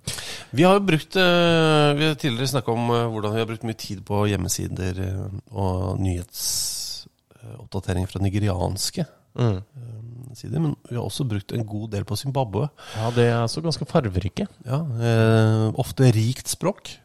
[SPEAKER 3] Vi har jo brukt eh, Vi har tidligere snakka om eh, hvordan vi har brukt mye tid på hjemmesider eh, og nyhetsoppdateringer fra nigerianske
[SPEAKER 4] Mm.
[SPEAKER 3] eh, sider. Men vi har også brukt en god del på Zimbabwe.
[SPEAKER 4] ja, det er altså ganske farverike.
[SPEAKER 3] Ja, eh, Ofte rikt språk.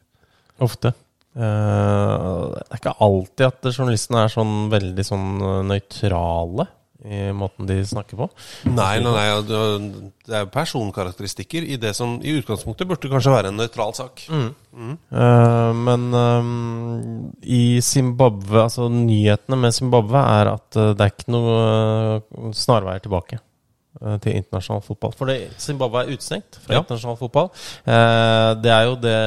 [SPEAKER 4] Ofte. Eh, det er ikke alltid at journalistene er sånn veldig sånn eh, nøytrale i måten de snakker på.
[SPEAKER 3] Nei, nei, nei ja, du- det er jo personkarakteristikker i det som i utgangspunktet burde kanskje være en nøytral sak.
[SPEAKER 4] Mm. Eh, men ehm, i Zimbabwe Altså nyhetene med Zimbabwe er at eh, det er ikke noe eh, snarveier tilbake eh, til internasjonal fotball. For det, Zimbabwe er utestengt fra
[SPEAKER 3] Ja.
[SPEAKER 4] internasjonal fotball. Eh, det er jo det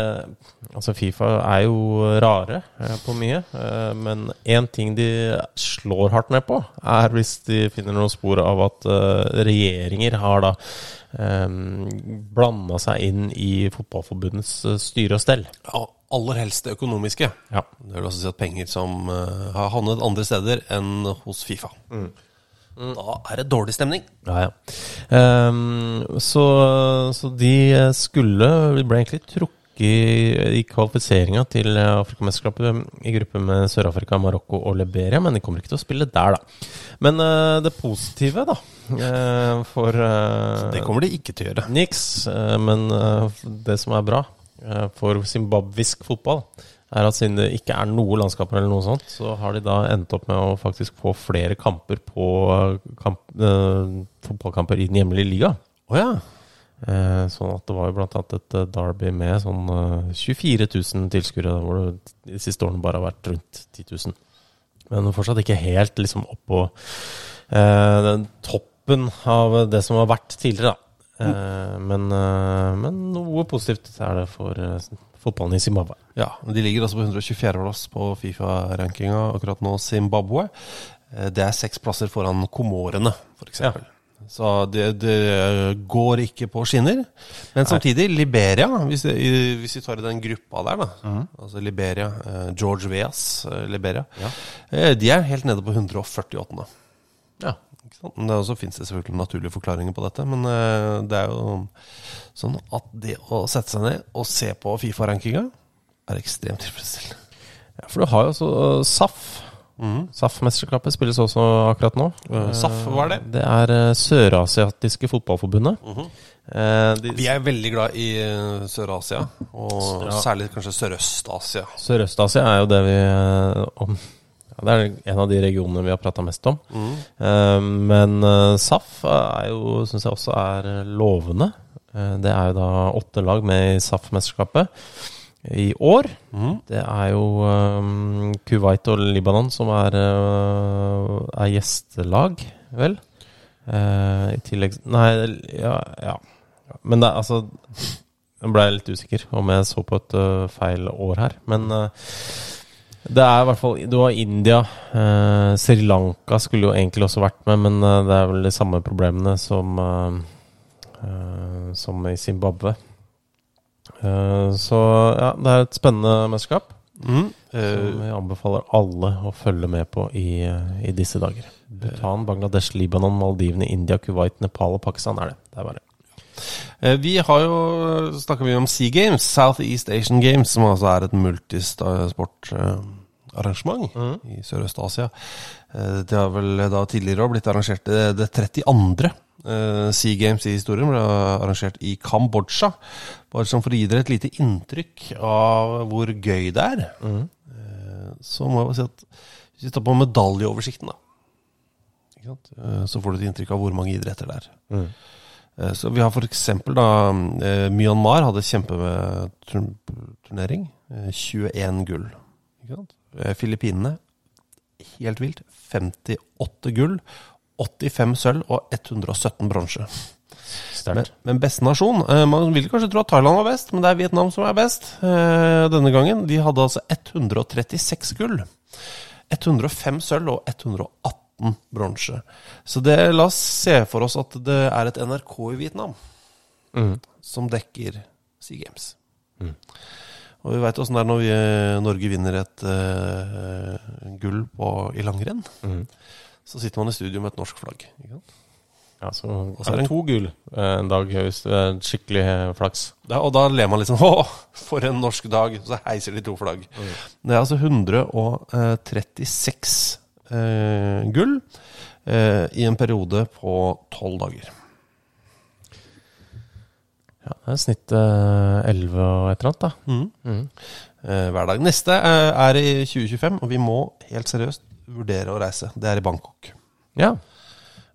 [SPEAKER 4] Altså, Fifa er jo rare eh, på mye, eh, men én ting de slår hardt ned på, er hvis de finner noen spor av at eh, regjeringer har da blanda seg inn i fotballforbundets eh, styre og stell.
[SPEAKER 3] Ja, aller helst det økonomiske. Det vil også si at penger som eh, har havnet andre steder enn hos Fifa. Da er det dårlig stemning.
[SPEAKER 4] Ja, ja. Ehm, så, så de skulle Vi ble egentlig trukket i, i kvalifiseringa til Afrikamesterskapet i gruppe med Sør-Afrika, Marokko og Liberia, men de kommer ikke til å spille der, da. Men eh, det positive, da, eh, for eh,
[SPEAKER 3] Det kommer de ikke til å gjøre.
[SPEAKER 4] Niks. eh, men eh, det som er bra eh, for zimbabwisk fotball, er at siden det ikke er noe landskaper eller noe sånt, så har de da endt opp med å faktisk få flere kamper på eh, kamp, eh, fotballkamper i den hjemlige liga.
[SPEAKER 3] Å ja.
[SPEAKER 4] Eh, sånn at det var jo blant annet et eh, derby med sånn eh, 24 000 tilskuere, hvor det de siste årene bare har vært rundt 10 000. Men fortsatt ikke helt liksom oppå eh, den toppen av det som har vært tidligere, da. Eh, men, eh, men noe positivt er det for eh, fotballen i Zimbabwe.
[SPEAKER 3] Ja, men De ligger altså på 124. plass på Fifa-rankinga akkurat nå, Zimbabwe. Eh, Det er seks plasser foran Komorene, f.eks. eksempel Så det, det går ikke på skinner. Men samtidig, Liberia, hvis, det, i- hvis vi tar i den gruppa der, da.
[SPEAKER 4] Mhm.
[SPEAKER 3] Altså Liberia, eh, George Veas, eh, Liberia. eh, De er helt nede på 148.
[SPEAKER 4] Ja.
[SPEAKER 3] Ikke sant? Men det er også finnes det selvfølgelig naturlige forklaringer på dette, men eh, det er jo sånn at det å sette seg ned og se på Fifa-rankinga er ekstremt tilfredsstillende. Mhm.
[SPEAKER 4] Ja, for du har jo også eh, SAF. SAF-mesterskapet spilles også akkurat nå.
[SPEAKER 3] Eh, SAF, hva er det? Mhm.
[SPEAKER 4] Det er eh, Sørasiatiske Fotballforbundet. Eh, de-
[SPEAKER 3] Vi er veldig glad i eh, Sør-Asia, og
[SPEAKER 4] Ja.
[SPEAKER 3] særlig kanskje Sørøst-Asia.
[SPEAKER 4] Sørøst-Asia er jo det vi eh, om, ja, Det er en av de regionene vi har prata mest om.
[SPEAKER 3] Mm.
[SPEAKER 4] Eh, men eh, SAF er jo, syns jeg også er lovende. Eh, det er jo da åtte lag med i SAF-mesterskapet i år. Det er jo eh, Kuwait og Libanon som er, eh, er gjestelag, vel. Eh, I tillegg Nei, ja, ja. Men det er altså Nå ble jeg litt usikker om jeg så på et ø, feil år her. Men ø, det er i hvert fall Du har India. ø, Sri Lanka skulle jo egentlig også vært med, men ø, det er vel de samme problemene som, ø, ø, som i Zimbabwe. Eh, så ja, det er et spennende mesterskap.
[SPEAKER 3] Mm.
[SPEAKER 4] Som jeg anbefaler alle å følge med på i, eh, i disse dager. Bhutan, Bangladesh, Libanon, Maldivene, India, Kuwait, Nepal og Pakistan er det. Det er bare
[SPEAKER 3] Eh, Vi har jo snakka mye om Sea Games, Southeast Asian Games, som altså er et multisportarrangement i Sørøst-Asia. Eh, Det har vel da tidligere også blitt arrangert det, det 32. eh, Sea Games i historien ble arrangert i Kambodsja. Bare som for å gi dere et lite inntrykk av hvor gøy det er, eh, så må jeg bare si at hvis vi tar på medaljeoversikten, da, ikke sant? Eh, så får du et inntrykk av hvor mange idretter det er. Eh, Så vi har for eksempel da eh, Myanmar hadde kjempeturnering. 21 gull. Ikke sant? Eh, Filippinene, helt vilt. 58 gull, 85 sølv og 117 bronse. Men, men beste nasjon eh, Man vil kanskje tro at Thailand var best, men det er Vietnam som er best eh, denne gangen. De hadde altså 136 gull. 105 sølv og 118 bronse. Så det, la oss se for oss at det er et NRK i Vietnam
[SPEAKER 4] Mhm.
[SPEAKER 3] som dekker Sea Games.
[SPEAKER 4] Mhm.
[SPEAKER 3] Og vi veit åssen det er når vi, Norge vinner et eh, gull på, i langrenn.
[SPEAKER 4] Mhm.
[SPEAKER 3] Så sitter man i studio med et norsk flagg. Ikke sant?
[SPEAKER 4] Ja, så
[SPEAKER 3] så er
[SPEAKER 4] er
[SPEAKER 3] det
[SPEAKER 4] det to gull eh, en dag hvis det er skikkelig eh, flaks.
[SPEAKER 3] Da- og da ler man litt sånn <laughs> Å, for en norsk dag! Så heiser de to flagg. Det er altså 136 eh, gull eh, i en periode på tolv dager.
[SPEAKER 4] Ja, det er snitt eh, 11 og et eller annet, da.
[SPEAKER 3] Mhm. Eh, hver dag. Neste eh, er i 2025, og vi må helt seriøst vurdere å reise. Det er i Bangkok.
[SPEAKER 4] Ja.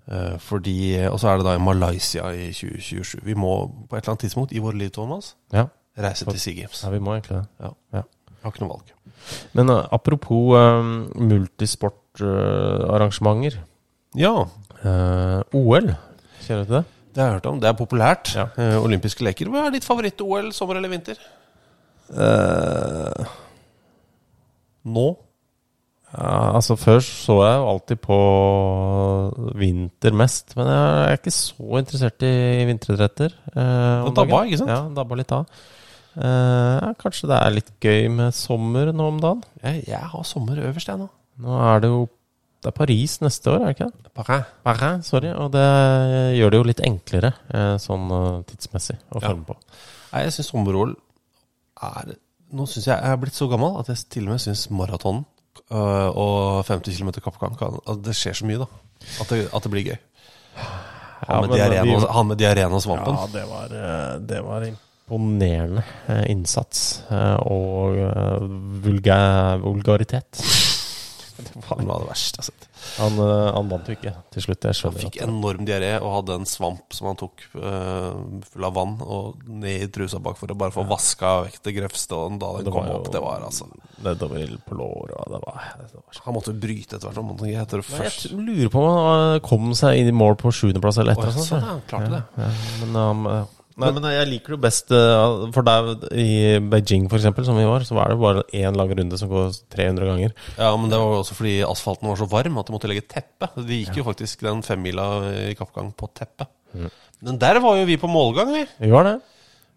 [SPEAKER 3] Eh, fordi, og så er det da i Malaysia i 2027. Vi må på et eller annet tidspunkt i vårt liv, Thomas,
[SPEAKER 4] Ja.
[SPEAKER 3] reise til Sea Games.
[SPEAKER 4] Ja, vi må egentlig det.
[SPEAKER 3] Ja.
[SPEAKER 4] Ja.
[SPEAKER 3] Jeg har ikke noe valg.
[SPEAKER 4] Men eh, apropos eh, multisportarrangementer.
[SPEAKER 3] Ja.
[SPEAKER 4] OL, kjenner du til det?
[SPEAKER 3] Det har jeg hørt om. Det er populært. Eh, olympiske leker. Hva er ditt favoritt-OL, sommer eller vinter?
[SPEAKER 4] Eh.
[SPEAKER 3] Nå?
[SPEAKER 4] Ja, altså Før så jeg jo alltid på vinter mest, men jeg er ikke så interessert i vinteridretter. eh, om
[SPEAKER 3] Det dabba,
[SPEAKER 4] dagen.
[SPEAKER 3] ikke sant?
[SPEAKER 4] Ja, dabba litt av. Eh, ja, kanskje det er litt gøy med sommer nå om dagen.
[SPEAKER 3] Jeg, jeg har sommer øverst, jeg nå.
[SPEAKER 4] Nå er det jo det er Paris neste år, er det ikke det?
[SPEAKER 3] Paris.
[SPEAKER 4] Paris, sorry. Og det gjør det jo litt enklere eh, sånn eh, tidsmessig å
[SPEAKER 3] Ja.
[SPEAKER 4] forme på.
[SPEAKER 3] Nei, jeg syns sommer-OL er Nå syns jeg jeg er blitt så gammel at jeg til og med syns maraton øh, og 50 km kappgang kan at Det skjer så mye, da. At det, at det blir gøy. Han med,
[SPEAKER 4] Ja, men eh,
[SPEAKER 3] diareen
[SPEAKER 4] vi-
[SPEAKER 3] og- han med diareen og svampen.
[SPEAKER 4] Ja, det var, eh, det var imponerende eh, innsats eh, og eh, vulga- vulgaritet.
[SPEAKER 3] Faen, det var det verste jeg har sett.
[SPEAKER 4] Han, eh, han vant jo ikke til slutt,
[SPEAKER 3] Han
[SPEAKER 4] jeg skjønner
[SPEAKER 3] fikk
[SPEAKER 4] at
[SPEAKER 3] enorm diaré og hadde en svamp som han tok øh, full av vann og ned i trusa bak for å bare få vaska vekk det grøvste. Og da den
[SPEAKER 4] Det
[SPEAKER 3] kom
[SPEAKER 4] var jo-
[SPEAKER 3] opp, det var altså
[SPEAKER 4] nedover ild på lår og det var, det var
[SPEAKER 3] Han måtte bryte etter hvert. Han måtte etter det
[SPEAKER 4] Men jeg
[SPEAKER 3] først.
[SPEAKER 4] t- lurer på om han eh, kom seg inn i mål på sjuendeplass eller et
[SPEAKER 3] Å,
[SPEAKER 4] eller annet.
[SPEAKER 3] sånn,
[SPEAKER 4] så.
[SPEAKER 3] ja, han klarte det.
[SPEAKER 4] Ja, men, um, eh, Nei, men jeg liker det jo best eh, For der i Beijing, for eksempel, som vi var, så var det bare én lang runde som går 300 ganger.
[SPEAKER 3] Ja, men det var jo også fordi asfalten var så varm at de måtte legge teppe. De gikk jo faktisk den femmila i kappgang på teppe.
[SPEAKER 4] Mm.
[SPEAKER 3] Men der var jo vi på målgang, vi.
[SPEAKER 4] Vi var det.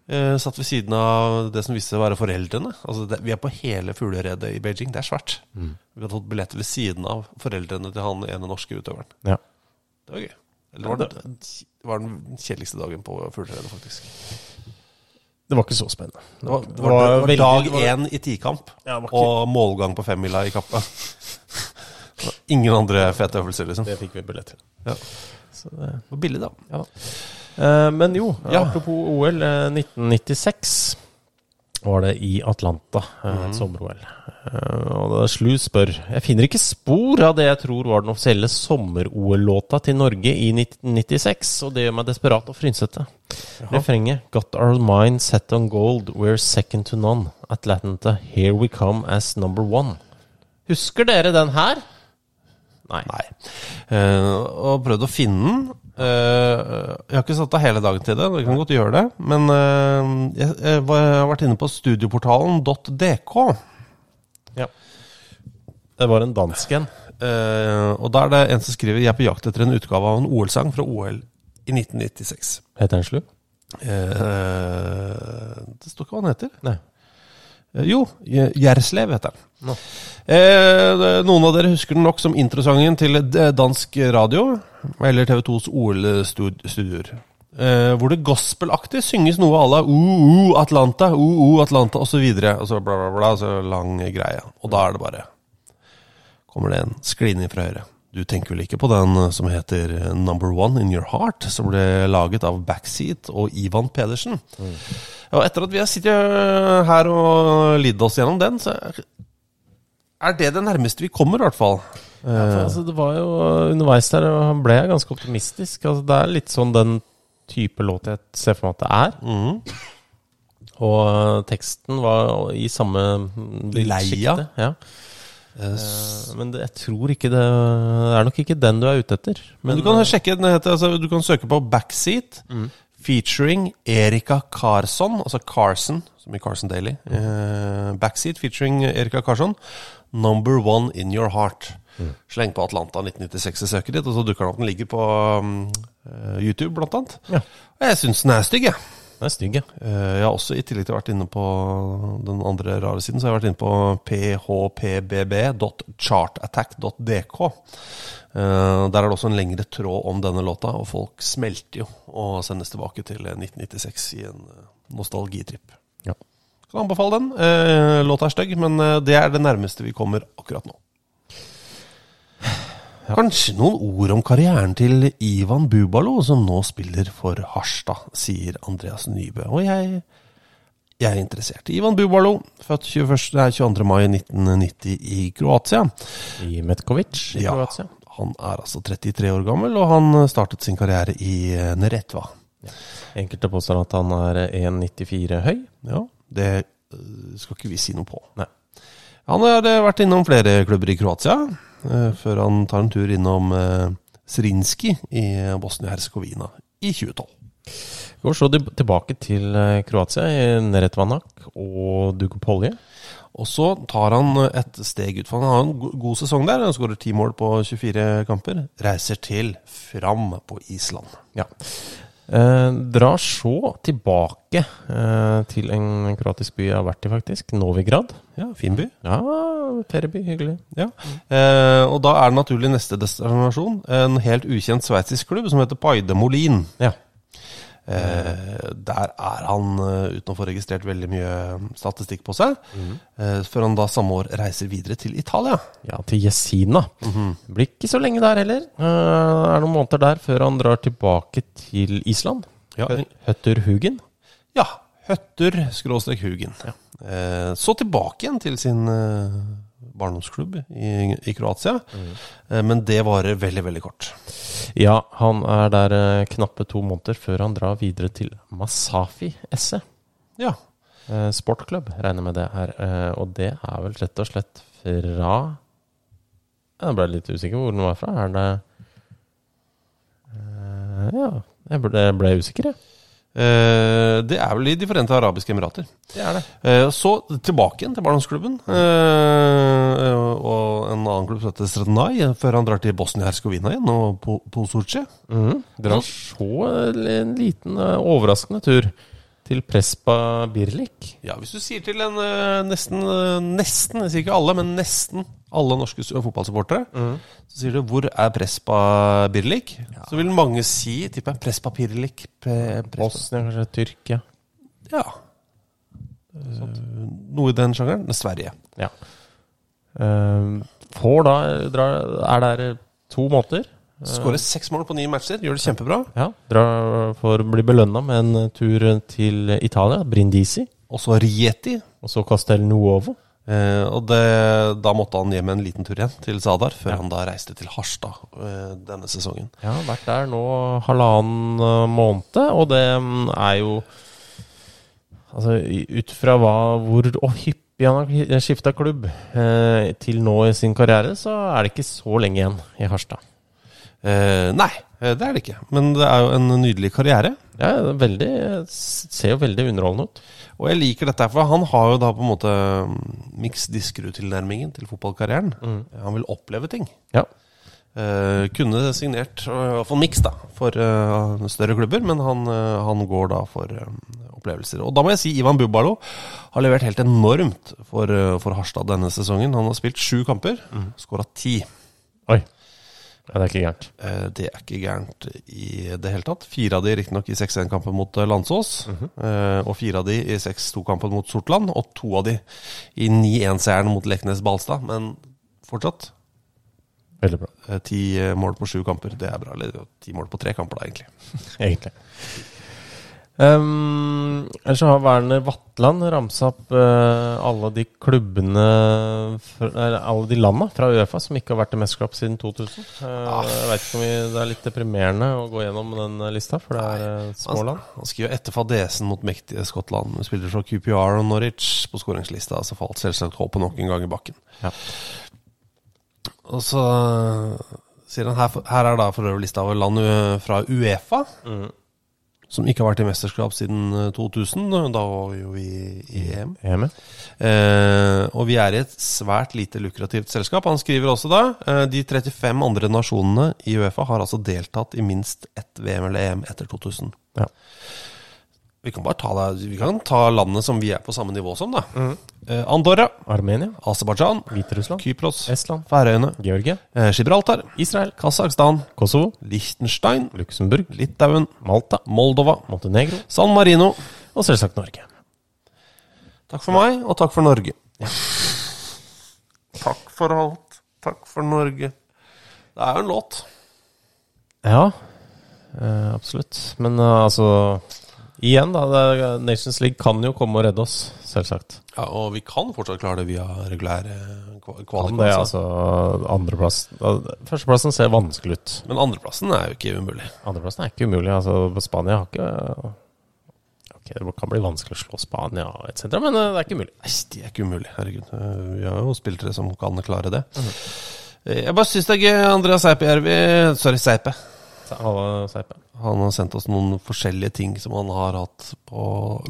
[SPEAKER 3] Eh, satt ved siden av det som viste seg å være foreldrene. Altså, det, vi er på hele fugleredet i Beijing. Det er svært.
[SPEAKER 4] Mm.
[SPEAKER 3] Vi hadde fått billett ved siden av foreldrene til han ene norske utøveren.
[SPEAKER 4] Ja.
[SPEAKER 3] Det var gøy. Eller var det, det var den kjedeligste dagen på fugleredet, faktisk.
[SPEAKER 4] Det var ikke så spennende.
[SPEAKER 3] Det var, det
[SPEAKER 4] det
[SPEAKER 3] var, det var
[SPEAKER 4] veldig- det var-
[SPEAKER 3] dag én i tikamp
[SPEAKER 4] Ja, det var ikke-
[SPEAKER 3] og målgang på femmila i kappa. <laughs> Det var Ingen andre fete øvelser, liksom.
[SPEAKER 4] Det fikk vi billett til.
[SPEAKER 3] Ja.
[SPEAKER 4] Så det,
[SPEAKER 3] Det var billig, da.
[SPEAKER 4] ja. Eh, men jo,
[SPEAKER 3] Ja.
[SPEAKER 4] apropos OL. eh, 1996 var det i Atlanta, eh, et
[SPEAKER 3] Mhm.
[SPEAKER 4] sommer-OL. Eh, og det er Slu spør Jeg finner ikke spor av det jeg tror var den offisielle sommer-OL-låta til Norge i 1996, og det gjør meg desperat og frynsete. Refrenget Got our mind set on gold, we're second to none. Atlanta, here we come as number one. Husker dere den her? Nei.
[SPEAKER 3] Eh, og prøvd å finne den. Eh, jeg har ikke satt av hele dagen til det, vi kan godt gjøre det. Men eh, jeg, jeg, var, jeg har vært inne på studioportalen.dk.
[SPEAKER 4] Ja. Det var en dansk en.
[SPEAKER 3] Eh, og da er det en som skriver 'Jeg er på jakt etter en utgave av en OL-sang fra OL i 1996'.
[SPEAKER 4] Heter den Slu?
[SPEAKER 3] Eh, det står ikke hva den heter.
[SPEAKER 4] Nei.
[SPEAKER 3] Eh, Jo, Gj- Gjerslev heter den.
[SPEAKER 4] Nå.
[SPEAKER 3] Eh, det- noen av dere husker den nok som introsangen til eh, d- dansk radio, eller TV2s OL-studioer. Eh, hvor det gospelaktig synges noe à la uh, uh, Atlanta, uh, uh, Atlanta osv. Og så bla, bla, bla. Så lang greie. Og da er det bare Kommer det en skline fra høyre. Du tenker vel ikke på den eh, som heter eh, Number One In Your Heart, som ble laget av Backseat og Ivan Pedersen. Og etter at vi har sittet eh, her og lidd oss gjennom den, så er det det nærmeste vi kommer, i hvert fall. Eh,
[SPEAKER 4] Ja, for, altså, det var jo underveis der, og han ble ganske optimistisk. Altså, det er litt sånn den type låt jeg ser for meg at det er.
[SPEAKER 3] Mhm.
[SPEAKER 4] Og eh, teksten var i samme mm,
[SPEAKER 3] Leia.
[SPEAKER 4] sjikte, Ja.
[SPEAKER 3] Eh,
[SPEAKER 4] Eh, Men det, jeg tror ikke det Det er nok ikke den du er ute etter.
[SPEAKER 3] Men du kan sjekke den heter, altså, Du kan søke på Backseat
[SPEAKER 4] Mm.
[SPEAKER 3] featuring Erika Carson, altså Carson, som i Carson Daily. Eh, backseat featuring Erika Carson, 'Number One In Your Heart'.
[SPEAKER 4] Mm.
[SPEAKER 3] Sleng på Atlanta 1996 i søket ditt, og så dukker den opp. Den ligger på um, eh, YouTube, blant annet. Og jeg syns den er stygg, jeg. Eh,
[SPEAKER 4] Den er stygg, ja.
[SPEAKER 3] Jeg har også i tillegg til å ha vært inne på den andre rare siden, så har jeg vært inne på phpbb.chartattack.dk. Eh, Der er det også en lengre tråd om denne låta, og folk smelter jo og sendes tilbake til 1996 i en eh, nostalgitripp.
[SPEAKER 4] Ja.
[SPEAKER 3] Kan anbefale den. Eh, Låta er stygg, men eh, det er det nærmeste vi kommer akkurat nå. Kanskje noen ord om karrieren til Ivan Bubalo, som nå spiller for Harstad, sier Andreas Nybø. Og jeg, jeg er interessert. Ivan Bubalo, født 21, nei, 22. mai 1990 i Kroatia.
[SPEAKER 4] I Metkovic i
[SPEAKER 3] ja,
[SPEAKER 4] Kroatia.
[SPEAKER 3] Han er altså 33 år gammel, og han eh, startet sin karriere i eh, Neretva.
[SPEAKER 4] Enkelte påstår at han er 1,94 høy.
[SPEAKER 3] Ja, det eh, skal ikke vi si noe på. Han har eh, vært innom flere klubber i Kroatia, eh, før han tar en tur innom eh, Zrinski i eh, Bosnia-Hercegovina i 2012.
[SPEAKER 4] Går så til- tilbake til eh, Kroatia, i Neretvanak og Dugopolje.
[SPEAKER 3] Og så tar han eh, et steg ut, for han har en go- god sesong der. Han skårer ti mål på 24 kamper. Reiser til Fram på Island.
[SPEAKER 4] Ja. Eh, drar så tilbake eh, til en kroatisk by jeg har vært i, faktisk. Novigrad.
[SPEAKER 3] Ja, fin by.
[SPEAKER 4] Ja, ferieby. Hyggelig.
[SPEAKER 3] Ja. Eh, og da er det naturlig neste destinasjon en helt ukjent sveitsisk klubb som heter Paide Molin.
[SPEAKER 4] Ja.
[SPEAKER 3] Eh, der er han, eh, uten å få registrert veldig mye um, statistikk på seg, eh, før han da samme år reiser videre til Italia.
[SPEAKER 4] Ja, til Jesina.
[SPEAKER 3] Mhm.
[SPEAKER 4] Blir ikke så lenge der heller. Eh, er noen måneder der før han drar tilbake til Island.
[SPEAKER 3] Ja.
[SPEAKER 4] Hø- Høtterhugen.
[SPEAKER 3] Ja, Høtter skråstrek Hugen. Eh, så tilbake igjen til sin eh, barndomsklubb i, i Kroatia. Eh, men det varer veldig, veldig kort.
[SPEAKER 4] Ja, han er der eh, knappe to måneder før han drar videre til Masafi SE.
[SPEAKER 3] Ja.
[SPEAKER 4] Eh, sportklubb, regner med det her. Eh, og det er vel rett og slett fra Jeg ble litt usikker hvor den var fra. Er det eh, Ja, jeg ble, ble usikker, jeg.
[SPEAKER 3] Eh, det er vel i De forente arabiske emirater.
[SPEAKER 4] Det er det.
[SPEAKER 3] Eh, så tilbake igjen til barndomsklubben. Eh, og en annen klubb som heter Stradnaj, før han drar til Bosnia-Hercegovina igjen, og Po- Posorce.
[SPEAKER 4] Mhm. Dere har så en liten eh, overraskende tur til Prespa Birlik.
[SPEAKER 3] Ja, hvis du sier til en eh, nesten, eh, nesten, jeg sier ikke alle, men nesten alle norske s- fotballsupportere,
[SPEAKER 4] Mm.
[SPEAKER 3] så sier du 'Hvor er Prespa Birlik?' Så vil mange si, tipper jeg, Prespa Birlik pre, Prespa.
[SPEAKER 4] Bosnia, kanskje Tyrkia.
[SPEAKER 3] Ja. Eh, noe i den sjangeren. Men Sverige.
[SPEAKER 4] Ja. Eh, får da drar, Er der eh, to måneder.
[SPEAKER 3] Skårer seks mål på ni matcher, gjør det kjempebra.
[SPEAKER 4] Ja, drar for å bli belønna med en eh, tur til Italia, Brindisi.
[SPEAKER 3] Og så Rieti.
[SPEAKER 4] Og så Castel Nuovo.
[SPEAKER 3] Eh, og det, da måtte han hjem en liten tur igjen til Sadar, før han da reiste til Harstad eh, denne sesongen.
[SPEAKER 4] Ja, vært der nå halvannen eh, måned, og det mm, er jo Altså, i- ut fra hva, hvor og hyppig han har skifta klubb eh, til nå i sin karriere, så er det ikke så lenge igjen i Harstad.
[SPEAKER 3] Eh, nei, eh, det er det ikke. Men det er jo en nydelig karriere.
[SPEAKER 4] Ja, det er veldig, s- ser jo veldig underholdende ut.
[SPEAKER 3] Og jeg liker dette, her, for han har jo da på en måte mm, mix diskerud-tilnærmingen til fotballkarrieren. Han vil oppleve ting.
[SPEAKER 4] Ja.
[SPEAKER 3] Eh, kunne signert eh, i hvert fall mix da, for eh, større klubber, men han, eh, han går da for eh, opplevelser. Og da må jeg si Ivan Bubalo har levert helt enormt for, eh, for Harstad denne sesongen. Han har spilt sju kamper, mm. skåra ti.
[SPEAKER 4] Oi. Ja, det er ikke gærent.
[SPEAKER 3] Eh, Det er ikke gærent i det hele tatt. Fire av de riktignok i 6-1-kampen mot eh, Landsås. eh, Og fire av de i 6-2-kampen mot Sortland. Og to av de i 9-1-seieren mot Leknes Balstad. Men fortsatt
[SPEAKER 4] Veldig bra,
[SPEAKER 3] eh, ti eh, mål på sju kamper. Det er bra. Eller jo, ti mål på tre kamper, da, egentlig.
[SPEAKER 4] egentlig. Um, ellers så har Werner Vatland ramsa opp eh, alle de klubbene fra, eller Alle de landa fra Uefa som ikke har vært i mesterskap siden 2000. Eh, jeg vet ikke om vi, Det er litt deprimerende å gå gjennom den eh, lista, for det er eh, små land.
[SPEAKER 3] Han skriver etter fadesen mot mektige Skottland. med Spillere fra QPR og Norwich på skåringslista. Så falt selvsagt håpet nok en gang i bakken.
[SPEAKER 4] Ja.
[SPEAKER 3] Og så eh, sier han her, her er da for øvrig lista over land eh, fra Uefa.
[SPEAKER 4] Mhm.
[SPEAKER 3] Som ikke har vært i mesterskap siden eh, 2000. eh, Da var vi jo i, i EM.
[SPEAKER 4] EM,
[SPEAKER 3] Eh, og vi er i et svært lite lukrativt selskap. Han skriver også da eh, de 35 andre nasjonene i Uefa har altså deltatt i minst ett VM eller EM etter 2000.
[SPEAKER 4] Ja.
[SPEAKER 3] Vi kan bare ta, det, vi kan ta landene som vi er på samme nivå som, da. Eh, Andorra.
[SPEAKER 4] Armenia.
[SPEAKER 3] Aserbajdsjan.
[SPEAKER 4] Hviterussland.
[SPEAKER 3] Kypros.
[SPEAKER 4] Estland.
[SPEAKER 3] Færøyene.
[SPEAKER 4] Georgia.
[SPEAKER 3] Eh, Gibraltar.
[SPEAKER 4] Eh, Israel.
[SPEAKER 3] Kasakhstan.
[SPEAKER 4] Kosovo.
[SPEAKER 3] Liechtenstein.
[SPEAKER 4] Luxembourg.
[SPEAKER 3] Litauen.
[SPEAKER 4] Malta.
[SPEAKER 3] Moldova.
[SPEAKER 4] Montenegro.
[SPEAKER 3] San Marino.
[SPEAKER 4] Og selvsagt Norge.
[SPEAKER 3] Takk for meg, og takk for Norge. Takk for alt. Takk for Norge. Det er jo en låt.
[SPEAKER 4] Ja, eh, absolutt. Men eh, altså Igjen, da. Det, er- Nations League kan jo komme og redde oss, selvsagt.
[SPEAKER 3] Ja, og vi kan fortsatt klare det via regulære kva-
[SPEAKER 4] Kan
[SPEAKER 3] kvalik.
[SPEAKER 4] det,
[SPEAKER 3] altså.
[SPEAKER 4] altså. Andreplass da- Førsteplassen ser vanskelig ut.
[SPEAKER 3] Men andreplassen er jo ikke umulig.
[SPEAKER 4] Andreplassen er ikke umulig. Altså, Spania har ikke Ok, det kan bli vanskelig å slå Spania etc., men eh, det er ikke umulig.
[SPEAKER 3] Nei, det er ikke umulig. Herregud. Eh, Vi har jo spillere som kan klare det. Eh, Jeg bare syns det er gøy. Andreas Seipejärvi Sorry, Seipe.
[SPEAKER 4] Så Alle Seipe.
[SPEAKER 3] Han har sendt oss noen forskjellige ting som han har hatt på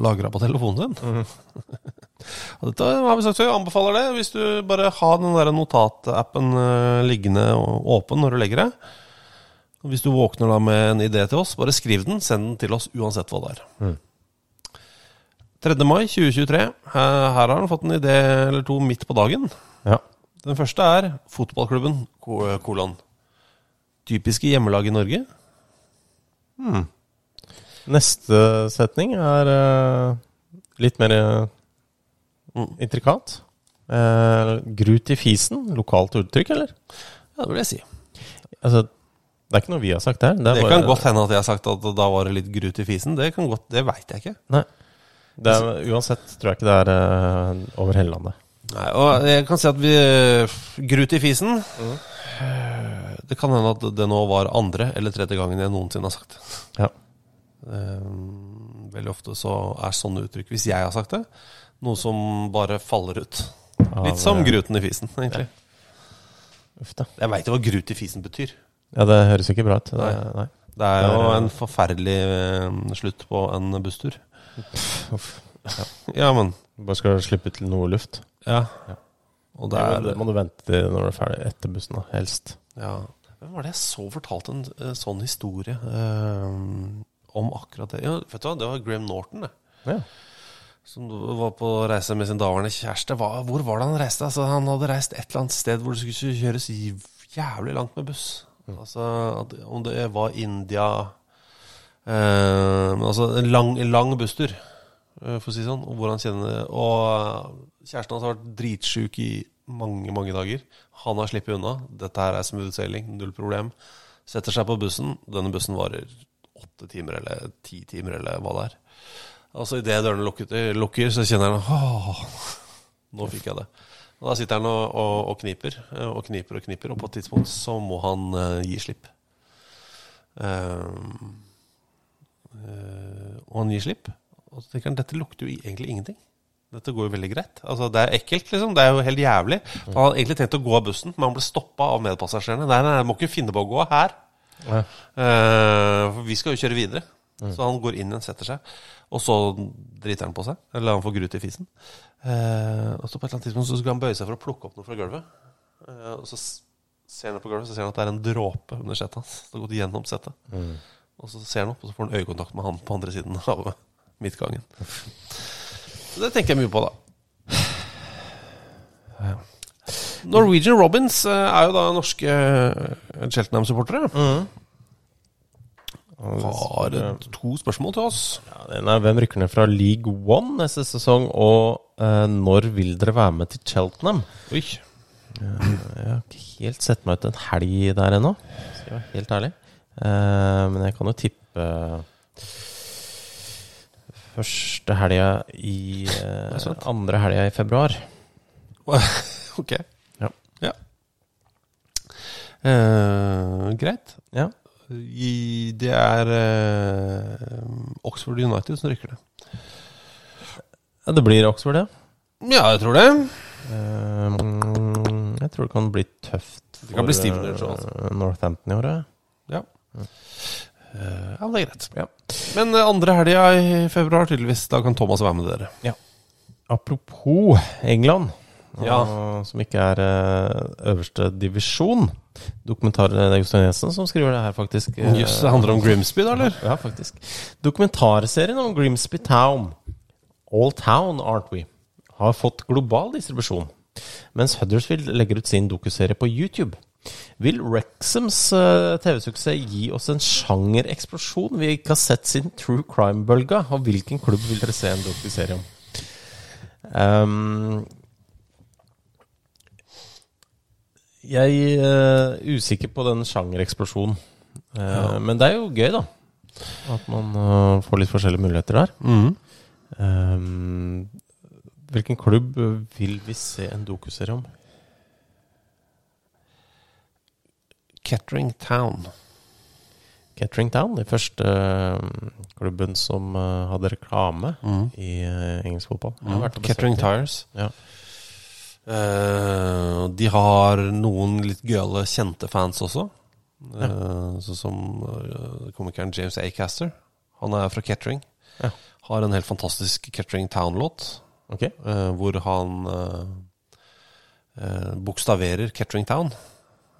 [SPEAKER 3] lagra på telefonen sin. <laughs> Og Dette har vi sagt før, jeg anbefaler det. Hvis du bare har den der notatappen eh, liggende og åpen når du legger deg. Og Hvis du våkner da med en idé til oss, bare skriv den. Send den til oss uansett hva det er.
[SPEAKER 4] Mm.
[SPEAKER 3] 3. mai 2023. eh, Her, her har han fått en idé eller to midt på dagen.
[SPEAKER 4] Ja.
[SPEAKER 3] Den første er fotballklubben ko- eh, kolon. Typiske hjemmelag i Norge.
[SPEAKER 4] Hmm. Neste setning er eh, litt mer eh,
[SPEAKER 3] Mm.
[SPEAKER 4] intrikat. Eh, grut i fisen, lokalt uttrykk, eller?
[SPEAKER 3] Ja, det vil jeg si.
[SPEAKER 4] Altså, det er ikke noe vi har sagt her. Det,
[SPEAKER 3] Det,
[SPEAKER 4] er
[SPEAKER 3] kan godt hende at jeg har sagt at da var det litt grut i fisen. Det, kan godt- det veit jeg ikke.
[SPEAKER 4] Nei. Det er, uansett tror jeg ikke det er eh, over hele landet.
[SPEAKER 3] Nei, og jeg kan si at vi eh, Grut i fisen
[SPEAKER 4] Mm.
[SPEAKER 3] Eh, Det kan hende at det nå var andre eller tredje gangen jeg noensinne har sagt det.
[SPEAKER 4] Ja.
[SPEAKER 3] Eh, Veldig ofte så er sånne uttrykk, hvis jeg har sagt det, noe som bare faller ut.
[SPEAKER 4] Av,
[SPEAKER 3] Litt som
[SPEAKER 4] eh,
[SPEAKER 3] gruten i fisen, egentlig.
[SPEAKER 4] Uff da.
[SPEAKER 3] Jeg veit jo hva grut i fisen betyr.
[SPEAKER 4] Ja, det høres ikke bra ut. Det,
[SPEAKER 3] Nei.
[SPEAKER 4] nei.
[SPEAKER 3] Det er
[SPEAKER 4] Det er,
[SPEAKER 3] jo
[SPEAKER 4] eh,
[SPEAKER 3] en forferdelig eh, slutt på en busstur.
[SPEAKER 4] Uff.
[SPEAKER 3] Ja, men
[SPEAKER 4] Bare skal slippe til noe luft.
[SPEAKER 3] Ja. Og det
[SPEAKER 4] Ja,
[SPEAKER 3] er
[SPEAKER 4] men det må du vente til når du er ferdig etter bussen, da, helst.
[SPEAKER 3] ja. Hvem var det jeg så fortalte en eh, sånn historie eh, om akkurat det? Ja, vet du hva, det var Graham Norton, det.
[SPEAKER 4] Ja.
[SPEAKER 3] Som var på reise med sin daværende kjæreste. Hva, hvor var det han reiste? Altså, han hadde reist et eller annet sted hvor det skulle kjøres jævlig langt med buss. Altså, at, om det var India eh, men Altså en lang, en lang busstur, eh, for å si det sånn. Og hvor han kjenner Og eh, kjæresten hans har vært dritsjuk i mange, mange dager. Han har sluppet unna. Dette her er smooth sailing, null problem. Setter seg på bussen. Denne bussen varer åtte timer eller ti timer eller hva det er. Altså Idet dørene lukket, lukker, så kjenner han Åh, nå fikk jeg det. Og Da sitter han og, og, og kniper eh, og kniper og kniper, og på et tidspunkt så må han eh, gi slipp. Ehm, eh, og han gir slipp, og så tenker han dette lukter jo i- egentlig ingenting. Dette går jo veldig greit. Altså Det er ekkelt, liksom. Det er jo helt jævlig. Han hadde egentlig tenkt å gå av bussen, men han ble stoppa av medpassasjerene. Nei, nei, nei, må ikke finne på å gå av her.
[SPEAKER 4] Ja.
[SPEAKER 3] Eh, for vi skal jo kjøre videre. Så han går inn igjen, setter seg, og så driter han på seg. Eller han får grut i fisen. Eh, og så på et eller annet tidspunkt så skulle han bøye seg for å plukke opp noe fra gulvet. Eh, og så s- ser han opp på gulvet, så ser han at det er en dråpe under settet hans. Det har gått gjennom settet. Og så ser han opp, og så får han øyekontakt med han på andre siden <laughs> av midtgangen. Så det tenker jeg mye på, da. Norwegian Robins eh, er jo da norske eh, Cheltenham-supportere. Mm. Har eh, to spørsmål til oss. <laughs>
[SPEAKER 4] Ja, det ene er hvem rykker ned fra League One neste sesong, og eh, når vil dere være med til Cheltenham?
[SPEAKER 3] Oi.
[SPEAKER 4] Jeg har ikke helt sett meg ut en helg der ennå, skal jeg være helt ærlig. Eh, men jeg kan jo tippe første helga i eh,
[SPEAKER 3] sant.
[SPEAKER 4] Andre helga i februar.
[SPEAKER 3] ok.
[SPEAKER 4] Ja.
[SPEAKER 3] Ja. Eh, greit.
[SPEAKER 4] Ja.
[SPEAKER 3] I, det er eh, Oxford United som rykker det.
[SPEAKER 4] ja, det blir Oxford, ja.
[SPEAKER 3] Ja, jeg tror det.
[SPEAKER 4] Eh, mm, jeg tror det kan bli tøft
[SPEAKER 3] Det kan bli stivner, tror jeg,
[SPEAKER 4] eh, Northampton i år, ja.
[SPEAKER 3] Ja. Eh, ja, men det er greit. Men eh, andre helga i februar, tydeligvis, da kan Thomas være med dere.
[SPEAKER 4] Apropos England,
[SPEAKER 3] Ja.
[SPEAKER 4] og- som ikke er eh, øverste divisjon. Dokumentar Det er Jostein Jensen som skriver det her, faktisk. Eh,
[SPEAKER 3] Jøss, det handler om Grimsby, da, eller?
[SPEAKER 4] Ja, faktisk. Dokumentarserien om Grimsby Town, All Town Aren't We, har fått global distribusjon. Mens Huddersfield legger ut sin dokuserie på YouTube. Vil Rexhams eh, TV-suksess gi oss en sjangereksplosjon vi ikke har sett siden True Crime-bølga? Og hvilken klubb vil dere se en dokuserie om? Ehm, jeg er usikker på den sjangereksplosjonen. Eh,
[SPEAKER 3] Ja.
[SPEAKER 4] Men det er jo gøy, da. At man eh, får litt forskjellige muligheter der.
[SPEAKER 3] Mhm.
[SPEAKER 4] Ehm, hvilken klubb vil vi se en dokuserie om?
[SPEAKER 3] Kettering Town.
[SPEAKER 4] Kettering Town, den første eh, klubben som eh, hadde reklame
[SPEAKER 3] Mhm.
[SPEAKER 4] i eh, engelsk fotball. Jeg har
[SPEAKER 3] Mm.
[SPEAKER 4] vært og besøkt
[SPEAKER 3] Kettering
[SPEAKER 4] dem.
[SPEAKER 3] Tires.
[SPEAKER 4] Ja.
[SPEAKER 3] Eh, de har noen litt gøyale kjente fans også. Eh, sånn som eh, komikeren James Acaster. Han er fra Kettering.
[SPEAKER 4] Ja.
[SPEAKER 3] Har en helt fantastisk Kettering Town-låt.
[SPEAKER 4] Ok.
[SPEAKER 3] eh, hvor han eh, eh, bokstaverer Kettering Town.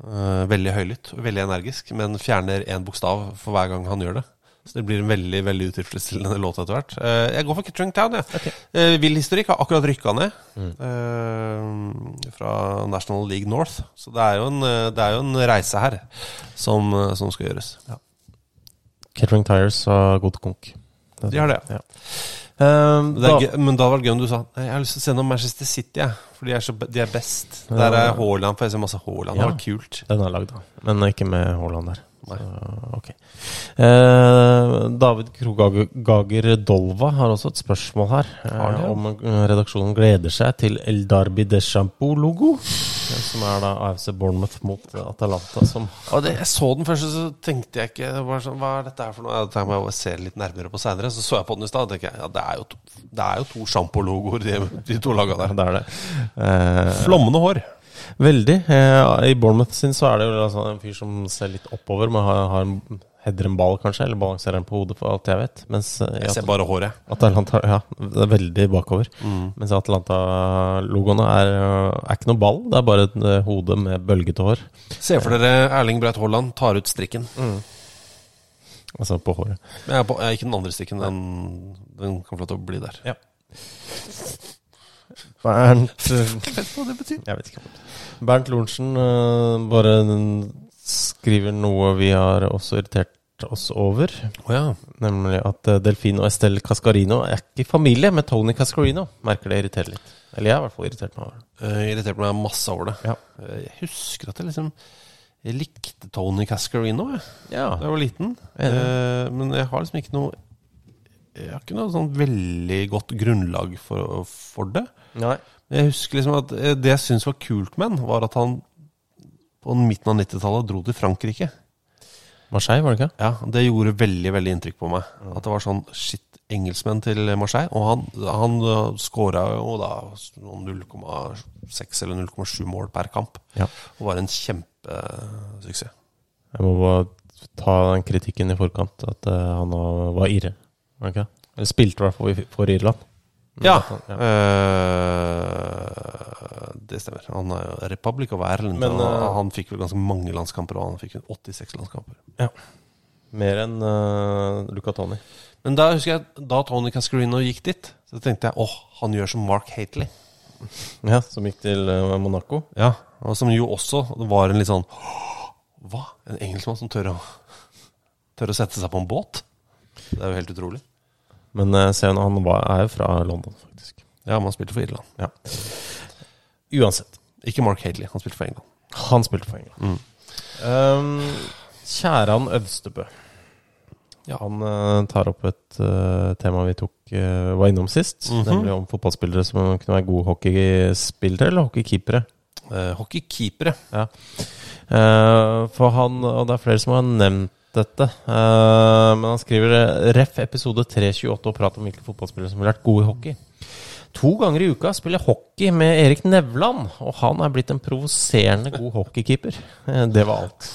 [SPEAKER 3] eh, veldig høylytt og veldig energisk, men fjerner én bokstav for hver gang han gjør det. Så det blir en veldig veldig utilfredsstillende låt etter hvert. Eh, jeg går for Kettering Town, jeg. Eh, Vill Historikk har akkurat rykka ned eh, fra National League North. Så det er jo en, eh, det er jo en reise her som, eh, som skal gjøres.
[SPEAKER 4] Kettering Tires har god konk.
[SPEAKER 3] De har det,
[SPEAKER 4] ja.
[SPEAKER 3] Men det er
[SPEAKER 4] da-
[SPEAKER 3] gøy, men da var det gøy om du sa Nei, jeg har lyst til å se noe om Manchester City, jeg. For de er, så, be- de er best.
[SPEAKER 4] Ja.
[SPEAKER 3] Der er Haaland, for jeg ser masse Haaland. Det
[SPEAKER 4] Ja.
[SPEAKER 3] var kult.
[SPEAKER 4] Den er lagd, da. Men ikke med Haaland der.
[SPEAKER 3] Nei.
[SPEAKER 4] Så, ok. Eh, David Krogager Dolva har også et spørsmål her.
[SPEAKER 3] Har
[SPEAKER 4] Eh,
[SPEAKER 3] det?
[SPEAKER 4] om eh, redaksjonen gleder seg til El Darby de Shampoo-logo. eh, Som er da AFC Bournemouth mot eh, Atalanta som
[SPEAKER 3] Og det, jeg så den først, og så tenkte jeg ikke det var sånn, Hva er dette her for noe? Ja, Dette her må jeg bare se litt nærmere på senere Så så jeg på den i stad og tenkte jeg, ja, det er jo to, det er jo to sjampo-logoer, de, de to laga der.
[SPEAKER 4] Det er det. Eh,
[SPEAKER 3] Flommende hår.
[SPEAKER 4] Veldig. Eh, I Bournemouth sin så er det jo altså en fyr som ser litt oppover, men har, har en, header en ball, kanskje, eller balanserer den på hodet, for alt jeg vet. Mens, eh, i
[SPEAKER 3] Jeg ser
[SPEAKER 4] Atal-
[SPEAKER 3] bare håret.
[SPEAKER 4] Atalanta, ja, det er veldig bakover.
[SPEAKER 3] Mm.
[SPEAKER 4] Mens Atlanta-logoene er, øh, er ikke noe ball, det er bare et øh, hode med bølgete hår.
[SPEAKER 3] Se for dere Erling Braut Haaland tar ut strikken.
[SPEAKER 4] Altså på håret.
[SPEAKER 3] Jeg er på, jeg er ikke den andre strikken. Den, den kan få lov til å bli der.
[SPEAKER 4] Ja. Bernt,
[SPEAKER 3] Jeg vet hva det betyr.
[SPEAKER 4] <laughs> jeg vet ikke. Bernt Lorentzen øh, bare skriver noe vi har også irritert oss over.
[SPEAKER 3] Å ja.
[SPEAKER 4] Nemlig at øh, Delfin og Estelle Cascarino er ikke i familie med Tony Cascarino. Merker det irriterer litt. Eller jeg er i hvert fall irritert meg over det.
[SPEAKER 3] Eh, irritert meg masse over det.
[SPEAKER 4] Ja.
[SPEAKER 3] Eh, jeg husker at jeg liksom Jeg likte Tony Cascarino jeg,
[SPEAKER 4] Ja.
[SPEAKER 3] da jeg var liten.
[SPEAKER 4] Enig.
[SPEAKER 3] Eh, men jeg har liksom ikke noe Jeg har ikke noe sånn veldig godt grunnlag for, for det.
[SPEAKER 4] Nei.
[SPEAKER 3] Men Jeg husker liksom at eh, Det jeg syntes var kult med han, var at han på midten av 90-tallet dro til Frankrike.
[SPEAKER 4] Marseille, var det ikke?
[SPEAKER 3] Ja, Det gjorde veldig veldig inntrykk på meg. At det var sånn shit, engelskmenn til Marseille. Og han, han uh, scora jo da noen 0,6 eller 0,7 mål per kamp.
[SPEAKER 4] Ja.
[SPEAKER 3] Og var en kjempesuksess.
[SPEAKER 4] Mm. Jeg må bare ta den kritikken i forkant, at eh, han var- var irre. Var det ikke? Eller spilte i hvert fall i- for Irland.
[SPEAKER 3] Ja,
[SPEAKER 4] ja.
[SPEAKER 3] eh, det stemmer. Han er jo Republic of Ireland.
[SPEAKER 4] Men,
[SPEAKER 3] og
[SPEAKER 4] eh,
[SPEAKER 3] han fikk vel ganske mange landskamper, og han fikk 86 landskamper.
[SPEAKER 4] Mer enn uh, Luca Toni.
[SPEAKER 3] Men da husker jeg da Tony Cascarino gikk dit, så tenkte jeg åh, han gjør som Mark Hateley.
[SPEAKER 4] Ja, som gikk til eh, Monaco.
[SPEAKER 3] Ja, og som jo også var en litt sånn Hva? En engelskmann som tør å, tør å sette seg på en båt? Det er jo helt utrolig.
[SPEAKER 4] Men eh, se, nå, han var, er jo fra London, faktisk.
[SPEAKER 3] Ja, men han spilte for Irland.
[SPEAKER 4] Ja. Uansett.
[SPEAKER 3] Ikke Mark Hadley, han spilte for England.
[SPEAKER 4] Han spilte for England. Um, Kjæran Øvstebø. Han eh, tar opp et eh, tema vi tok, eh, var innom sist.
[SPEAKER 3] Mhm.
[SPEAKER 4] Nemlig om fotballspillere som kunne være gode hockeyspillere eller hockeykeepere.
[SPEAKER 3] Eh, hockeykeepere.
[SPEAKER 4] Ja. Eh, for han, og det er flere som har nevnt dette, eh, men han skriver eh, ref episode 328 og prat om hvilke fotballspillere som ville vært gode i hockey. To ganger i uka spiller jeg hockey med Erik Nevland, og han er blitt en provoserende god hockeykeeper. Eh, Det var alt.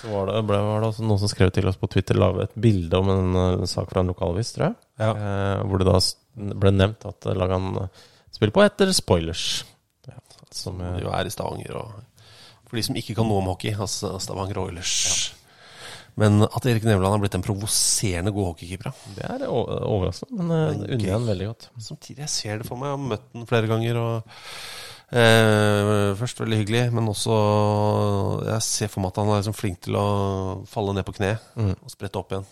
[SPEAKER 4] Så var det, ble, var det også noen som skrev til oss på Twitter, la et bilde om en, eh, sak fra en lokalavis, tror jeg. Eh, hvor det da s- ble nevnt at eh, laget han eh, spiller på, heter Spoilers. Ja, som eh,
[SPEAKER 3] Du er i Stavanger og For de som ikke kan noe om hockey, altså Stavanger Oilers. Men at Erik Nevland har blitt en provoserende god hockeykeeper, ja.
[SPEAKER 4] Det er o- overraskende, men eh, det unner jeg han veldig godt.
[SPEAKER 3] Samtidig, jeg ser det for meg. Jeg har møtt den flere ganger. Og, eh, først veldig hyggelig, men også Jeg ser for meg at han er liksom flink til å falle ned på kne
[SPEAKER 4] Mm.
[SPEAKER 3] og sprette opp igjen.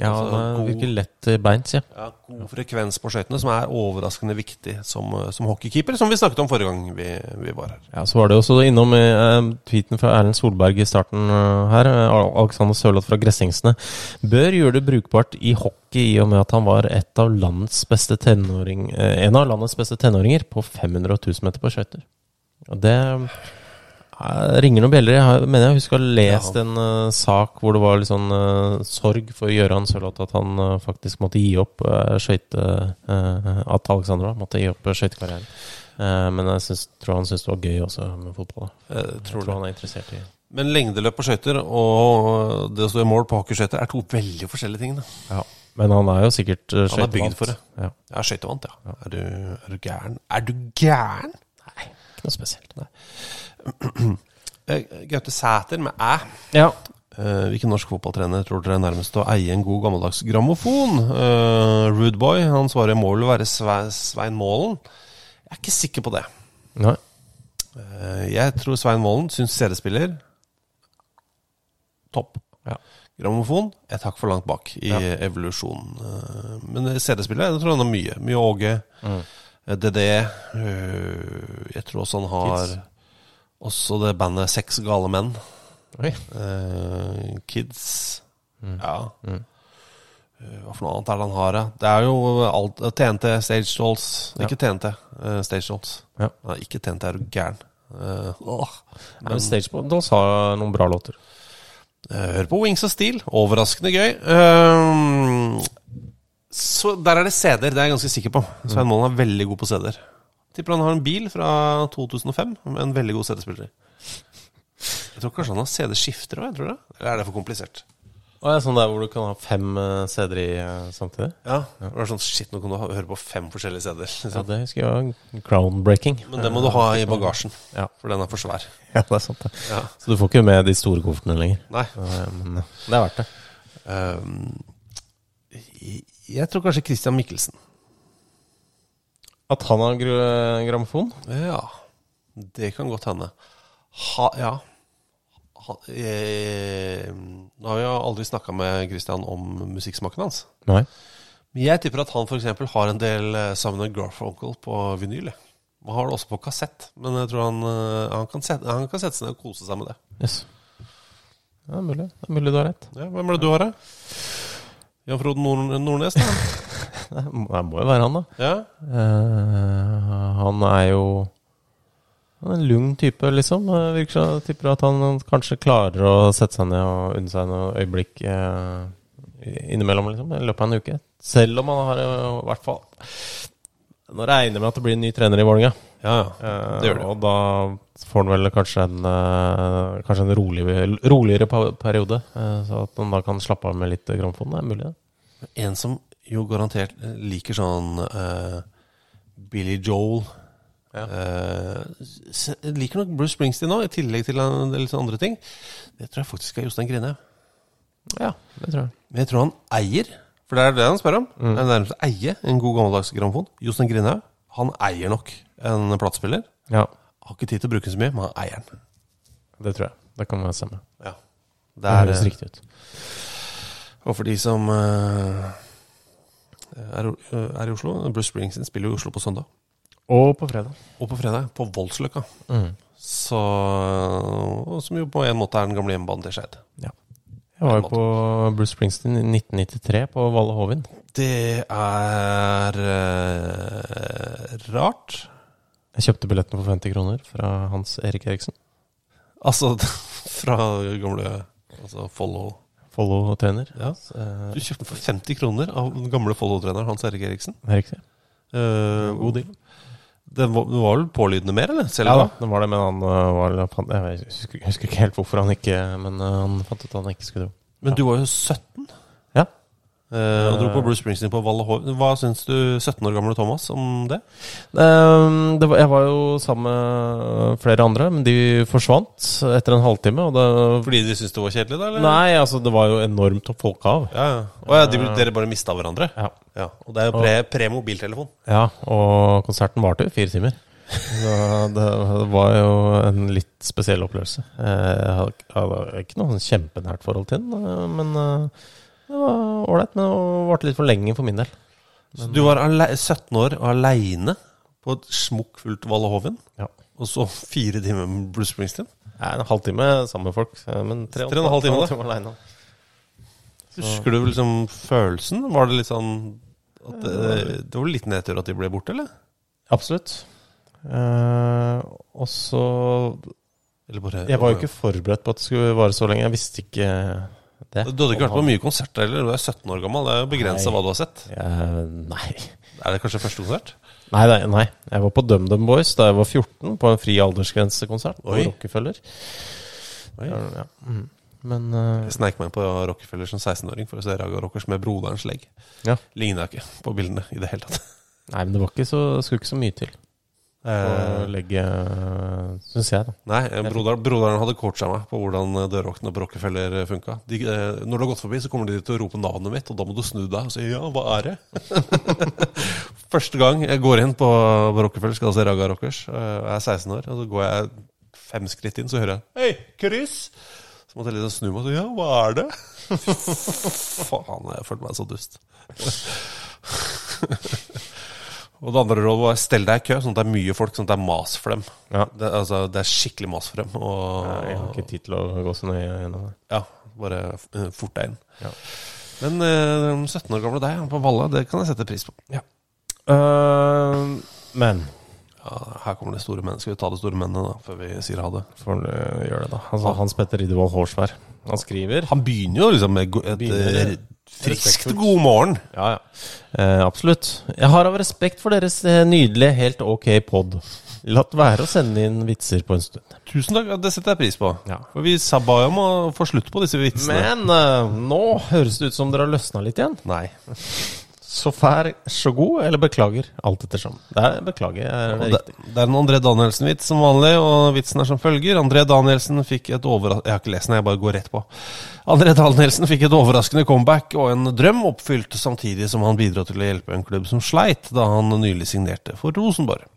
[SPEAKER 4] Ja,
[SPEAKER 3] Altså,
[SPEAKER 4] han er-
[SPEAKER 3] god-
[SPEAKER 4] virker lett eh, i beins, ja.
[SPEAKER 3] ja, god frekvens på skøytene, som er overraskende viktig som, eh, som hockeykeeper, som vi snakket om forrige gang vi, vi var her.
[SPEAKER 4] Ja, Så var det også innom eh, tweeten fra Erlend Solberg i starten eh, her. eh, Al- Alexander Sørloth fra Gressingsene. Bør gjøre det brukbart i hockey i og med at han var et av landets beste tenåring, eh, en av landets beste tenåringer på 500 og 1000 meter på skøyter. Og Det eh, ringer noen bjeller. Jeg har- mener jeg husker å ha lest en eh, sak hvor det var litt sånn eh, sorg for Gøran Sørloth at han eh, faktisk måtte gi opp uh, skøyte... eh, at Alexander da måtte gi opp eh, skøytekarrieren. Eh, men jeg syns- tror han syns det var gøy også med fotball. da.
[SPEAKER 3] Eh,
[SPEAKER 4] jeg
[SPEAKER 3] tror
[SPEAKER 4] tror
[SPEAKER 3] det.
[SPEAKER 4] han er interessert i
[SPEAKER 3] Men lengdeløp på skøyter og det å stå i mål på hockeyskøyter er to veldig forskjellige ting. Da.
[SPEAKER 4] Men han er jo sikkert uh,
[SPEAKER 3] Han er bygd for det.
[SPEAKER 4] Ja.
[SPEAKER 3] Ja, skøytevant, ja. Er du, er du gæren? Er du gæren?
[SPEAKER 4] Nei, ikke noe spesielt.
[SPEAKER 3] Eh, Gaute Sæter med æ.
[SPEAKER 4] Ja.
[SPEAKER 3] Eh, hvilken norsk fotballtrener tror dere er nærmest å eie en god gammeldags grammofon? Eh, Rudeboy. Han svarer må vel være Sve Svein Målen. Jeg er ikke sikker på det.
[SPEAKER 4] Nei.
[SPEAKER 3] Eh, jeg tror Svein Målen syns CD-spiller Topp.
[SPEAKER 4] Ja.
[SPEAKER 3] Grammofon et hakk for langt bak i
[SPEAKER 4] Ja.
[SPEAKER 3] evolusjonen. Eh, Men CD-spiller jeg tror han har mye. Mye Åge,
[SPEAKER 4] Mm.
[SPEAKER 3] eh, DD eh, Jeg tror også han har
[SPEAKER 4] Kids.
[SPEAKER 3] også det bandet Seks gale menn.
[SPEAKER 4] Oi.
[SPEAKER 3] Eh, Kids
[SPEAKER 4] Mm.
[SPEAKER 3] Ja.
[SPEAKER 4] Mm.
[SPEAKER 3] Eh, Hva for noe annet er det han har? da? Det er jo alt eh, TNT, Stage Dolls Ikke TNT, eh, Stage Dolls.
[SPEAKER 4] Ja.
[SPEAKER 3] Nei, ikke TNT, er du gæren. Eh, åh.
[SPEAKER 4] Nei, Men Stageball Dolls har noen bra låter.
[SPEAKER 3] Eh, Hør på Wings of Steel. Overraskende gøy. Ehm, så der er det CD-er, det er jeg ganske sikker på. Svein Målen er veldig god på CD-er. Tipper han har en bil fra 2005 med en veldig god CD-spiller. Jeg tror kanskje han har CD-skifter òg, eller er det for komplisert?
[SPEAKER 4] Og det er sånn der hvor du kan ha fem eh, CD-er i eh, samtidig?
[SPEAKER 3] Ja, det var sånn Shit, nå kan du ha- høre på fem forskjellige CD-er.
[SPEAKER 4] Ja,
[SPEAKER 3] Liksom.
[SPEAKER 4] det husker jeg var groundbreaking.
[SPEAKER 3] Men det må du ha i bagasjen,
[SPEAKER 4] Ja.
[SPEAKER 3] for den er for svær.
[SPEAKER 4] <laughs> Ja, det er sant. det.
[SPEAKER 3] Ja.
[SPEAKER 4] Så du får ikke med de store koffertene lenger.
[SPEAKER 3] Nei.
[SPEAKER 4] Eh, Men eh, det er verdt det.
[SPEAKER 3] Ehm, jeg- jeg tror kanskje Christian Michelsen.
[SPEAKER 4] At han har gr- eh, grammofon?
[SPEAKER 3] Ja, det kan godt hende. Ha, ja. Ha, eh, nå har jeg aldri snakka med Christian om musikksmaken hans.
[SPEAKER 4] Nei.
[SPEAKER 3] Men jeg tipper at han f.eks. har en del eh, Simon Garfunkel på vinyl. jeg. Han har det også på kassett, men jeg tror han, eh, han, kan, sette, han kan sette seg ned og kose seg med det.
[SPEAKER 4] Yes. Ja, det er mulig. Det er mulig du har rett.
[SPEAKER 3] Ja, hvem er det du har, da? Jan Frode Nord Nordnes? Da? <laughs>
[SPEAKER 4] Det må det må jo være han, da.
[SPEAKER 3] Ja?
[SPEAKER 4] Eh, han er jo han er en lung type, liksom. Eh, Virker som jeg tipper at han kanskje klarer å sette seg ned og unne seg noen øyeblikk eh, innimellom, liksom. I løpet av en uke. Selv om han har eh, i hvert fall Nå regner jeg med at det blir en ny trener i Vålerenga.
[SPEAKER 3] ja, ja.
[SPEAKER 4] Eh,
[SPEAKER 3] Det gjør det.
[SPEAKER 4] Og da får han vel kanskje en, eh, kanskje en rolig, roligere pa- periode. eh, så at han da kan slappe av med litt gramfon. Det er mulig, det.
[SPEAKER 3] En som jo garantert eh, liker sånn eh, Billy Joel Eh, s- Liker nok Bruce Springsteen nå, i tillegg til en del sånne sånn andre ting. Det tror jeg faktisk er Jostein Grine.
[SPEAKER 4] Ja, det tror jeg.
[SPEAKER 3] Men jeg tror han eier, for det er det han spør om. Det er nærmest å eie en god gammeldags grammofon. Jostein Grine, han eier nok en platespiller.
[SPEAKER 4] Ja,
[SPEAKER 3] Har ikke tid til å bruke den så mye, men han eier den.
[SPEAKER 4] det tror jeg. Det kan være stemme.
[SPEAKER 3] Ja.
[SPEAKER 4] Det,
[SPEAKER 3] Det er,
[SPEAKER 4] høres
[SPEAKER 3] eh,
[SPEAKER 4] riktig ut.
[SPEAKER 3] Og for de som eh, er, er i Oslo Bruce Springsteen spiller jo i Oslo på søndag.
[SPEAKER 4] Og på fredag.
[SPEAKER 3] Og på fredag, på Voldsløkka.
[SPEAKER 4] Mm.
[SPEAKER 3] Så, og som jo på en måte er den gamle hjemmebanen til Skeid.
[SPEAKER 4] Jeg var jo på Bruce Springsteen i 1993 på Valle Hovin.
[SPEAKER 3] Det er eh, rart.
[SPEAKER 4] Jeg kjøpte billetten for 50 kroner fra Hans Erik Eriksen.
[SPEAKER 3] Altså <laughs> fra gamle altså Follo
[SPEAKER 4] Follo-trener.
[SPEAKER 3] ja.
[SPEAKER 4] Så, eh,
[SPEAKER 3] Du kjøpte for 50 kroner av den gamle Follo-treneren Hans Erik Eriksen.
[SPEAKER 4] Det er riktig.
[SPEAKER 3] Eh, god deal. Den var, den var vel pålydende mer, eller? Selv
[SPEAKER 4] ja
[SPEAKER 3] om-
[SPEAKER 4] da, det var det, men han øh, var han- Jeg husker, jeg husker ikke helt hvorfor han ikke Men øh, han fant ut at han ikke skulle dro.
[SPEAKER 3] Men du var jo 17
[SPEAKER 4] Ja.
[SPEAKER 3] eh, og dro på Bruce Springsteen på Valle Hov. Hva syns du 17 år gamle Thomas om det?
[SPEAKER 4] Ehm, det var, jeg var jo sammen med flere andre, men de forsvant etter en halvtime. Og det,
[SPEAKER 3] Fordi de syntes det var kjedelig, da? Eller?
[SPEAKER 4] nei, altså, det var jo enormt folkehav.
[SPEAKER 3] Ja, ja. Å ja, de,
[SPEAKER 4] Eh.
[SPEAKER 3] dere bare mista hverandre?
[SPEAKER 4] Ja.
[SPEAKER 3] Og det er jo pre, pre-mobiltelefon.
[SPEAKER 4] Ja, og konserten varte jo i fire timer. Så det var jo en litt spesiell opplevelse. Jeg hadde jeg hadde ikke noe sånn kjempenært forhold til den, eh, men eh, det var ålreit. Men det varte litt for lenge for min del.
[SPEAKER 3] Så
[SPEAKER 4] eh,
[SPEAKER 3] du var ale 17 år og aleine på et smukkfullt Valle Hovin?
[SPEAKER 4] Ja.
[SPEAKER 3] Og så fire timer med Bruce Springsteen?
[SPEAKER 4] Nei, En halvtime sammen med folk, eh, men tre,
[SPEAKER 3] Tre og en halv time, da.
[SPEAKER 4] alene.
[SPEAKER 3] Husker du liksom følelsen? Var det litt sånn at det,
[SPEAKER 4] Eh.
[SPEAKER 3] det var litt nedtur at de ble borte, eller?
[SPEAKER 4] Absolutt. Eh, og så
[SPEAKER 3] Eller bare-
[SPEAKER 4] Jeg var jo ikke forberedt på at det skulle vare så lenge. Jeg visste ikke det.
[SPEAKER 3] Du hadde ikke vært på mye konserter heller, du er 17 år gammel. Det er jo begrensa
[SPEAKER 4] Nei.
[SPEAKER 3] hva du har sett.
[SPEAKER 4] Eh, nei.
[SPEAKER 3] Er det kanskje første konsert?
[SPEAKER 4] Nei, nei, nei. Jeg var på DumDum Boys da jeg var 14, på en fri aldersgrensekonsert på
[SPEAKER 3] Oi.
[SPEAKER 4] Rockefeller.
[SPEAKER 3] Oi.
[SPEAKER 4] Ja. Mm. Men eh,
[SPEAKER 3] Jeg sneik meg inn på Rockefeller som 16-åring for å se Raga Rockers med broderens legg.
[SPEAKER 4] Ja.
[SPEAKER 3] Ligna ikke på bildene i det hele tatt.
[SPEAKER 4] Nei, men det var ikke så, skulle ikke så mye til å
[SPEAKER 3] Eh,
[SPEAKER 4] legge Syns jeg, da.
[SPEAKER 3] Nei, eh, broderen, broderen hadde coacha meg på hvordan eh, dørvaktene på Rockefeller eh, funka. De, eh, når du har gått forbi, så kommer de til å rope navnet mitt, og da må du snu deg og si 'ja, hva er det?' Første gang jeg går inn på, på Rockefeller, skal jeg se Raga Rockers, eh, og jeg er 16 år, og så går jeg fem skritt inn, så hører jeg 'hei, kryss'. Så måtte jeg liksom snu meg og si 'ja, hva er det?' <laughs> Faen, jeg følte meg så dust. <laughs> Og det andre rådet var stell deg i kø, sånn at det er mye folk, sånn at det er mas for dem. Det, er- altså, det er skikkelig mas for dem. Og,
[SPEAKER 4] Nei, Jeg har ikke tid til å gå så nøye gjennom det.
[SPEAKER 3] Ja, bare eh, fort deg inn.
[SPEAKER 4] Ja.
[SPEAKER 3] Men eh, den 17 år gamle deg på Valle, det kan jeg sette pris på.
[SPEAKER 4] Eh, men
[SPEAKER 3] Ja, her kommer det store menn. Skal vi ta det store mennene da, før vi sier ha det?
[SPEAKER 4] får du gjøre det, da. Altså, Hans Petter Riddervold Hårsvær. Han skriver
[SPEAKER 3] Han begynner jo liksom med go- et
[SPEAKER 4] Begynner-
[SPEAKER 3] eh, friskt
[SPEAKER 4] Respektfullt.
[SPEAKER 3] god morgen.
[SPEAKER 4] Ja, ja. Eh, absolutt. Jeg har av respekt for deres eh, nydelige, helt ok pod latt være å sende inn vitser på en stund.
[SPEAKER 3] Tusen takk, ja, det setter jeg pris på.
[SPEAKER 4] Ja.
[SPEAKER 3] For vi sa ba om å få slutt på disse vitsene.
[SPEAKER 4] Men eh, nå høres det ut som dere har løsna litt igjen.
[SPEAKER 3] Nei.
[SPEAKER 4] Så fær, så god, eller beklager. Alt ettersom. Det er beklager, er det
[SPEAKER 3] Og
[SPEAKER 4] riktig.
[SPEAKER 3] det, det er en André Danielsen-vits som vanlig, og vitsen er som følger. André Danielsen fikk et overras... Jeg har ikke lest den, jeg bare går rett på. André Danielsen fikk et overraskende comeback og en drøm oppfylt, samtidig som han bidro til å hjelpe en klubb som sleit da han nylig signerte for Rosenborg.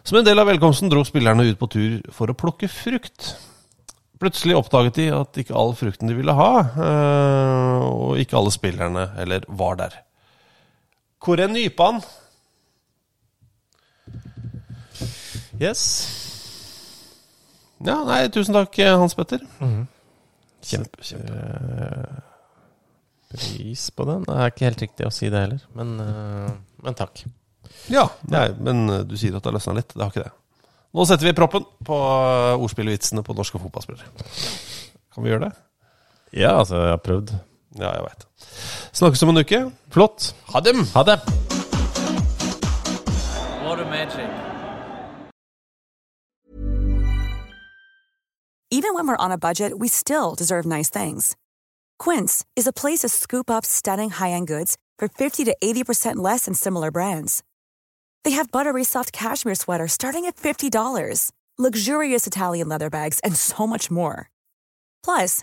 [SPEAKER 3] Som en del av velkomsten dro spillerne ut på tur for å plukke frukt. Plutselig oppdaget de at ikke all frukten de ville ha, eh, og ikke alle spillerne heller var der. Hvor er nypan?
[SPEAKER 4] Yes.
[SPEAKER 3] Ja, nei, tusen takk, eh, Hans Petter. Kjempe,
[SPEAKER 4] Eh, Pris på den. Det er ikke helt riktig å si det heller, men, eh, men takk.
[SPEAKER 3] Ja, nei, men eh, du sier at det har løsna litt. Det har ikke det. Nå setter vi proppen på eh, ordspillvitsene på norske fotballspillere. Kan vi gjøre det?
[SPEAKER 4] Ja, altså, jeg har prøvd.
[SPEAKER 3] Ja, jeg veit. Snakkes om en uke.
[SPEAKER 4] Flott.
[SPEAKER 3] Ha dem!
[SPEAKER 4] Ha det.
[SPEAKER 8] What a magic.
[SPEAKER 9] Even when we're on a budget, we still deserve nice things. Quince is a place to scoop up stunning high end goods for 50 to 80% less than similar brands. They have buttery soft cashmere sweaters starting at $50, luxurious Italian leather bags, and so much more. Plus,